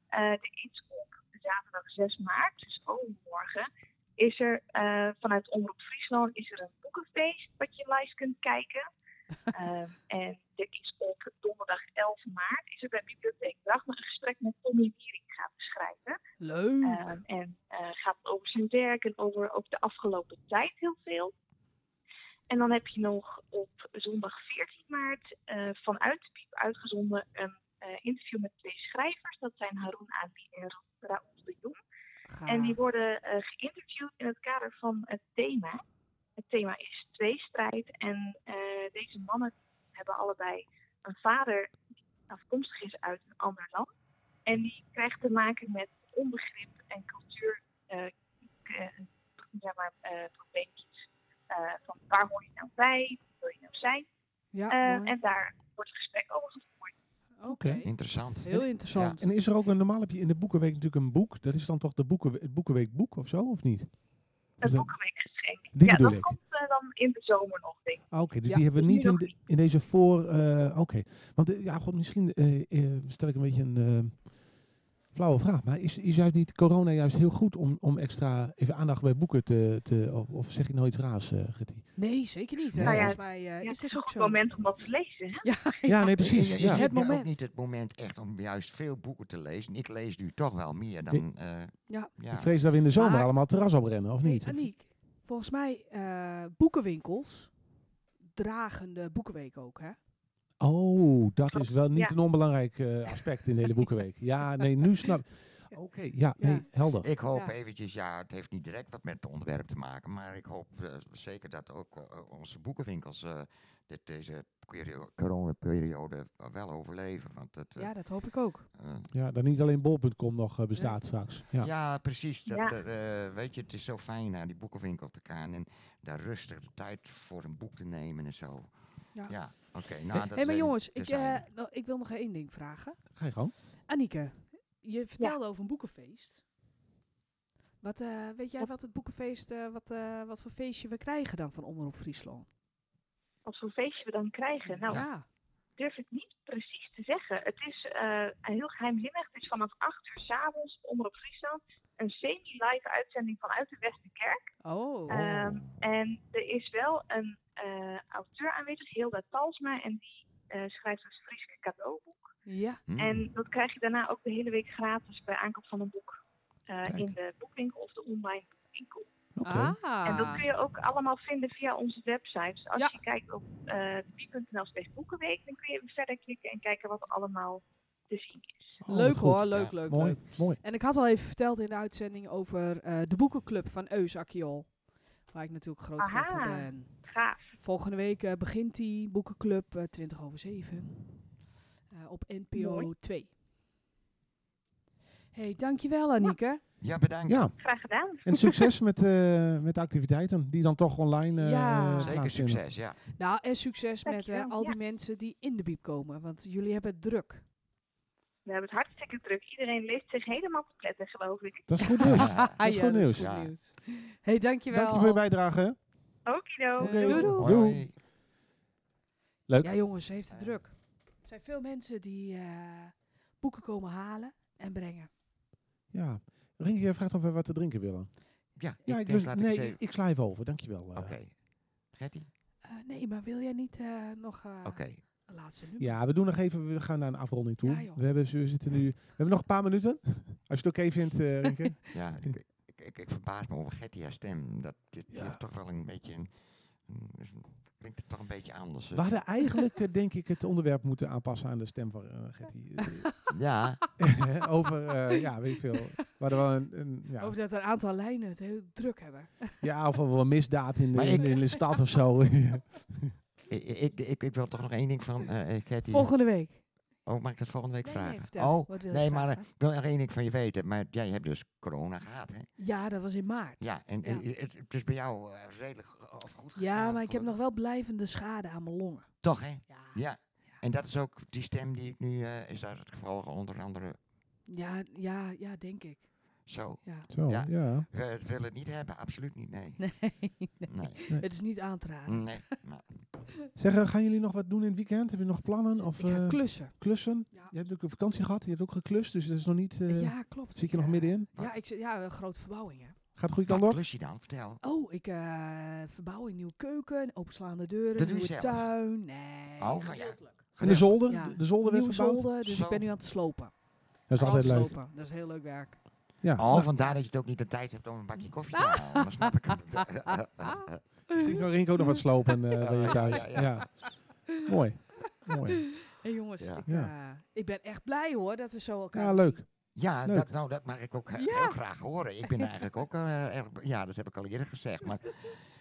S5: Eh, er is op zaterdag 6 maart, dus overmorgen, is er eh, vanuit Omroep Friesland is er een boekenfeest wat je live kunt kijken. Ehm, en er is op donderdag 11 maart is er bij Bibliotheek Dagma een gesprek met Tommy Wiering gaat beschrijven.
S3: Leuk.
S5: Ehm, en eh, gaat over zijn werk en over ook de afgelopen tijd heel veel. En dan heb je nog op zondag 14 maart eh, vanuit de Piep uitgezonden een eh, interview met twee schrijvers. Dat zijn Haroun Ali en Ra- Raoul de Jong.
S3: Gaaf.
S5: En die worden eh, geïnterviewd in het kader van het thema. Het thema is tweestrijd. En eh, deze mannen hebben allebei een vader die afkomstig is uit een ander land. En die krijgt te maken met onbegrip en cultuur. eh, k- eh, zeg maar, eh, probleempjes. Eh, van waar hoor je nou bij? Wie wil je nou zijn?
S3: ja,
S5: Eh,
S3: mooi.
S5: en daar wordt het gesprek over gevoerd.
S3: Oké.
S2: Interessant.
S3: Heel interessant.
S1: en is er ook een, normaal heb je in de boekenweek natuurlijk een boek. Dat is dan toch de boeken, het boekenweekboek of zo, of niet? Of
S5: Het
S1: dat-
S5: boekenweekgeschenk.
S1: Die
S5: ja,
S1: bedoel
S5: dat
S1: ik.
S5: komt eh, dan in de zomer nog, denk ik.
S1: Ah, Oké, dus
S3: Ja,
S1: die hebben we
S5: nu
S1: niet in,
S5: nog
S1: de-
S5: niet.
S1: in deze voor... eh, Oké, want eh, ja, god, misschien eh, eh, stel ik een beetje een eh, flauwe vraag. Maar is, is juist niet corona juist heel goed om, om extra even aandacht bij boeken te... te of, of zeg ik nou iets raars, eh Gertie?
S3: Nee, zeker niet. hè.
S2: Nou ja,
S3: Volgens mij eh,
S5: Ja,
S3: is dit
S5: het
S3: ook
S5: goed
S3: zo.
S5: moment om dat te lezen. Hè?
S3: Ja,
S1: Ja, nee, precies.
S2: Is, is
S1: ja.
S2: dit
S3: Het
S2: nou ook
S3: moment.
S2: niet het moment echt om juist veel boeken te lezen? Ik lees nu toch wel meer dan... eh,
S3: Ja.
S1: Ik vrees dat we in de zomer
S3: Maar-
S1: allemaal het terras oprennen, of
S3: Hey,
S1: niet?
S3: Aniek, volgens mij eh, boekenwinkels dragen de boekenweek ook, hè?
S1: Oh, dat is wel niet
S5: Ja.
S1: een onbelangrijk eh, aspect in de hele boekenweek. Ja, nee, nu snap Oké, ja,
S3: Ja.
S1: nee, helder.
S2: Ik hoop
S3: Ja.
S2: eventjes, ja, het heeft niet direct wat met het onderwerp te maken, maar ik hoop eh, zeker dat ook eh, onze boekenwinkels eh, dit, deze perio- coronaperiode wel overleven. Want het, eh,
S3: Ja, dat hoop ik ook.
S2: eh,
S1: Ja, dat niet alleen bol.com nog eh, bestaat straks. Ja.
S2: ja. precies. Dat,
S5: Ja.
S2: eh, eh, weet je, het is zo fijn naar die boekenwinkel te gaan en daar rustig de tijd voor een boek te nemen en zo.
S3: Ja.
S2: Ja, oké. nou,
S3: Hé,
S2: dat
S3: hey, maar
S2: zijn-
S3: jongens,
S2: dat
S3: ik,
S2: zijn-
S3: eh, nou, ik wil nog één ding vragen.
S1: Ga je gang.
S3: Anieke, je vertelde over een boekenfeest. Wat, eh, weet jij wat het boekenfeest, eh, wat, eh, wat voor feestje we krijgen dan van Omroep Friesland?
S5: Wat voor feestje we dan krijgen? Nou,
S3: ja.
S5: durf ik niet precies te zeggen. Het is eh, heel geheimzinnig. Het is vanaf 8 uur s'avonds Omroep Friesland een semi-live uitzending vanuit de Westerkerk.
S3: Oh,
S5: Ehm, en er is wel een eh, auteur aanwezig, Hilda Talsma, en die eh, schrijft een Frieske cadeauboek.
S3: ja.
S2: Hmm.
S5: En dat krijg je daarna ook de hele week gratis bij aankoop van een boek eh,
S1: Kijk.
S5: in de boekwinkel of de online boekwinkel.
S1: Oké.
S3: Ah.
S5: En dat kun je ook allemaal vinden via onze website. Dus als
S3: Ja.
S5: je kijkt op eh wie.nl slash boekenweek, dan kun je verder klikken en kijken wat er allemaal te zien is.
S1: Oh, wat
S3: Leuk
S1: goed.
S3: hoor, leuk, leuk,
S1: mooi,
S3: leuk.
S1: Mooi.
S3: En ik had al even verteld in de uitzending over eh, de boekenclub van Eus Akiol. Waar ik natuurlijk groot fan van
S5: Aha.
S3: ben.
S5: Gaaf.
S3: Volgende week eh, begint die boekenclub eh, 20 over 7 eh, op NPO
S5: Mooi.
S3: 2. hey, dankjewel Anieke.
S2: Ja, bedankt.
S1: Ja,
S5: Graag gedaan.
S1: en succes met, eh, met de activiteiten die dan toch online eh,
S3: Ja.
S1: gaan vinden.
S2: Zeker succes, ja.
S3: Nou, en succes met eh,
S5: Dankjewel,
S3: al
S5: ja.
S3: die mensen die in de biep komen, want jullie hebben het druk.
S5: We hebben het hartstikke druk. Iedereen leest zich helemaal te pletten, geloof ik.
S1: Dat is goed nieuws.
S3: Ah,
S1: is goed nieuws.
S2: Ja.
S3: hey, dankjewel.
S1: Dank je voor je bijdrage. hè.
S5: Okido.
S1: Oké.
S3: Doei, doei.
S2: Hoi,
S1: Doei.
S2: hoi.
S1: Leuk.
S3: Ja jongens, ze heeft het druk. Er zijn veel mensen die eh, boeken komen halen en brengen.
S1: Ja. Rinke, jij vraagt of we wat te drinken willen.
S2: Ja,
S1: Ja, ik,
S2: denk,
S1: wil-
S2: laat ik
S1: nee,
S2: eens
S1: ik,
S2: even-
S1: ik sla even over. Dankjewel. eh.
S2: Oké. Gertie?
S3: Eh, nee, maar wil jij niet eh, nog eh,
S2: Oké.
S3: een laatste nummer?
S1: Ja, we doen nog even, we gaan naar een afronding toe.
S3: Ja, joh.
S1: we, hebben, we, zitten nu, we hebben nog een paar minuten. Als je het oké vindt, eh Rinke.
S2: Ja, ik, ik, ik, ik verbaas me over Getty haar stem. Dat, dit die
S1: Ja.
S2: heeft toch wel een beetje een, Dus klinkt het toch een beetje anders. hè?
S1: We hadden eigenlijk, eh, denk ik, het onderwerp moeten aanpassen aan de stem van eh, Gertie.
S2: Ja,
S1: Eh, Over, eh, ja, weet ik veel. We hadden wel een, een ja,
S3: Over dat een aantal lijnen het heel druk hebben.
S1: ja, of over een misdaad in de,
S2: Maar
S1: in,
S2: ik-
S1: in de stad of zo.
S2: ik, ik, ik, ik wil toch nog één ding van eh eh, Gertie.
S3: Volgende week.
S2: Oh, mag ik dat volgende week
S3: Nee, nee,
S2: vragen?
S3: vertel.
S2: oh,
S3: Wat wil je
S2: nee, maar eh,
S3: vragen?
S2: ik wil nog één ding van je weten. Maar jij hebt dus corona gehad, hè?
S3: Ja, dat was in maart.
S2: Ja, en en Het, het is bij jou eh, redelijk go- of goed gegaan.
S3: Ja, maar ik heb nog
S2: gelukkig.
S3: wel blijvende schade aan mijn longen.
S2: Toch, hè?
S3: Ja, ja.
S2: Ja. En dat is ook die stem die ik nu... eh, is daar het geval onder andere
S3: ja, ja, denk ik.
S2: zo...
S3: Ja.
S1: Zo,
S2: Ja.
S1: ja.
S2: We willen het niet hebben, absoluut niet, nee.
S3: Nee,
S2: Nee,
S3: het is niet aan te raden.
S2: nee. maar-
S1: Zeg, eh, gaan jullie nog wat doen in het weekend? Hebben jullie nog plannen of
S3: Ik ga
S1: eh,
S3: klussen.
S1: klussen?
S3: Ja.
S1: Je hebt natuurlijk een vakantie gehad, je hebt ook geklust, dus dat is nog niet... eh,
S3: ja, klopt.
S1: Zit je nog
S3: Ja.
S1: middenin?
S3: Ja, ik, zit- ja, een grote verbouwing, hè.
S1: Gaat het goede
S2: Wat
S1: kant op?
S2: klus je dan? Vertel.
S3: Oh, ik eh, verbouw een nieuwe keuken, openslaande deuren,
S2: Dat doe je
S3: nieuwe
S2: zelf?
S3: tuin. Nee,
S2: Oh,
S3: dat
S2: ja.
S3: lukt leuk.
S1: En de zolder?
S3: Ja,
S1: De- De zolder werd
S3: Nieuwe
S1: verbouwd?
S3: zolder, dus
S2: Zo.
S3: ik ben nu aan het slopen.
S1: Dat is altijd leuk.
S3: Slopen. Dat is heel leuk werk.
S1: Ja. nou,
S2: Oh, vandaar dat je het ook niet de tijd hebt om een bakje koffie te halen. Dan snap ik het.
S1: Misschien
S3: Mhm.
S1: kan Rinko nog wat slopen eh, bij je
S2: ja,
S1: thuis.
S2: ja,
S1: Ja,
S2: ja.
S1: Mooi. Mooi.
S3: Hé jongens,
S2: Ja.
S3: ik,
S1: Ja.
S3: eh, ik ben echt blij hoor dat we zo elkaar
S1: Ja, leuk.
S2: Ja,
S1: Leuk.
S2: dat, nou, dat mag ik ook he-
S3: Ja.
S2: heel graag horen. Ik ben eigenlijk ook eh, erg. be- Ja, dat heb ik al eerder gezegd. Maar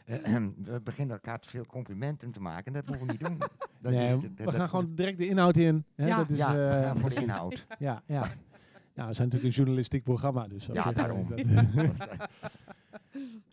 S2: eh, we beginnen elkaar te veel complimenten te maken. Dat moeten we niet doen. Dat-
S1: Nee,
S2: dat-
S1: we
S2: dat-
S1: gaan gewoon direct de inhoud in. Hè?
S3: Ja.
S1: Dat is,
S2: ja, we
S1: eh,
S2: gaan voor de
S1: precies.
S2: inhoud.
S1: Ja, ja. Nou, we zijn natuurlijk een journalistiek programma. Dus op
S2: Ja,
S1: zich, eh,
S2: daarom.
S1: is dat-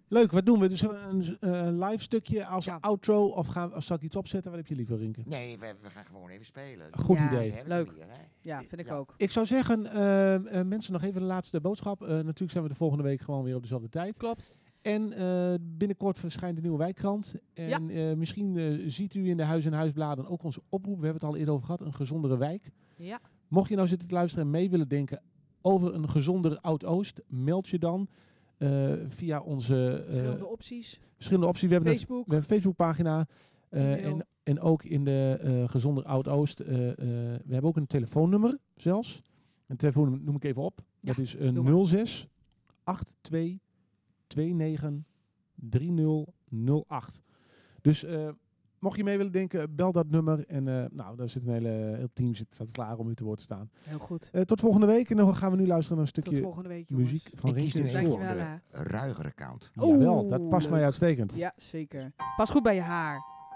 S1: leuk, wat doen we? Dus een eh, live stukje als
S3: Ja.
S1: outro? Of, gaan, of zal ik iets opzetten? Wat heb je liever, Rinke?
S2: Nee, we, we gaan gewoon even spelen.
S1: Goed
S3: Ja.
S1: idee.
S2: Die heb ik
S3: leuk.
S2: hier, hè.
S3: Ja, vind ik
S2: Ja.
S3: ook.
S1: Ik zou zeggen, eh, eh, mensen, nog even de laatste boodschap. Eh, natuurlijk zijn we de volgende week gewoon weer op dezelfde tijd.
S3: Klopt.
S1: En eh, binnenkort verschijnt de nieuwe wijkkrant. En
S3: Ja.
S1: eh, misschien eh, ziet u in de Huis- en Huisbladen ook onze oproep. We hebben het al eerder over gehad, een gezondere wijk.
S3: Ja.
S1: Mocht je nou zitten te luisteren en mee willen denken over een gezonder Oud-Oost, meld je dan eh, via onze eh,
S3: Verschillende opties.
S1: verschillende opties. We hebben een,
S3: Facebook.
S1: we hebben een Facebookpagina. eh,
S3: E-mail.
S1: en, en ook in de eh gezonder Oud-Oost. eh, eh, we hebben ook een telefoonnummer zelfs. Een telefoonnummer noem ik even op.
S3: Ja,
S1: Dat is eh, een
S3: doe maar.
S1: 06 82 29 3008. Dus eh, mocht je mee willen denken, bel dat nummer. En eh, nou, daar zit een hele heel team zit, staat klaar om u te woord te staan.
S3: Heel goed.
S1: Eh, tot volgende week. En dan gaan we nu luisteren naar een
S3: Tot
S1: stukje
S3: volgende week jongens.
S1: muziek van
S2: Ik kies
S1: Rinke in
S2: nu even
S1: Schoor.
S2: voor
S3: Dankjewel,
S2: de
S3: hè.
S2: ruigere kant.
S3: Oeh,
S1: Jawel, dat past mij uitstekend.
S3: Ja, zeker. Pas goed bij je haar.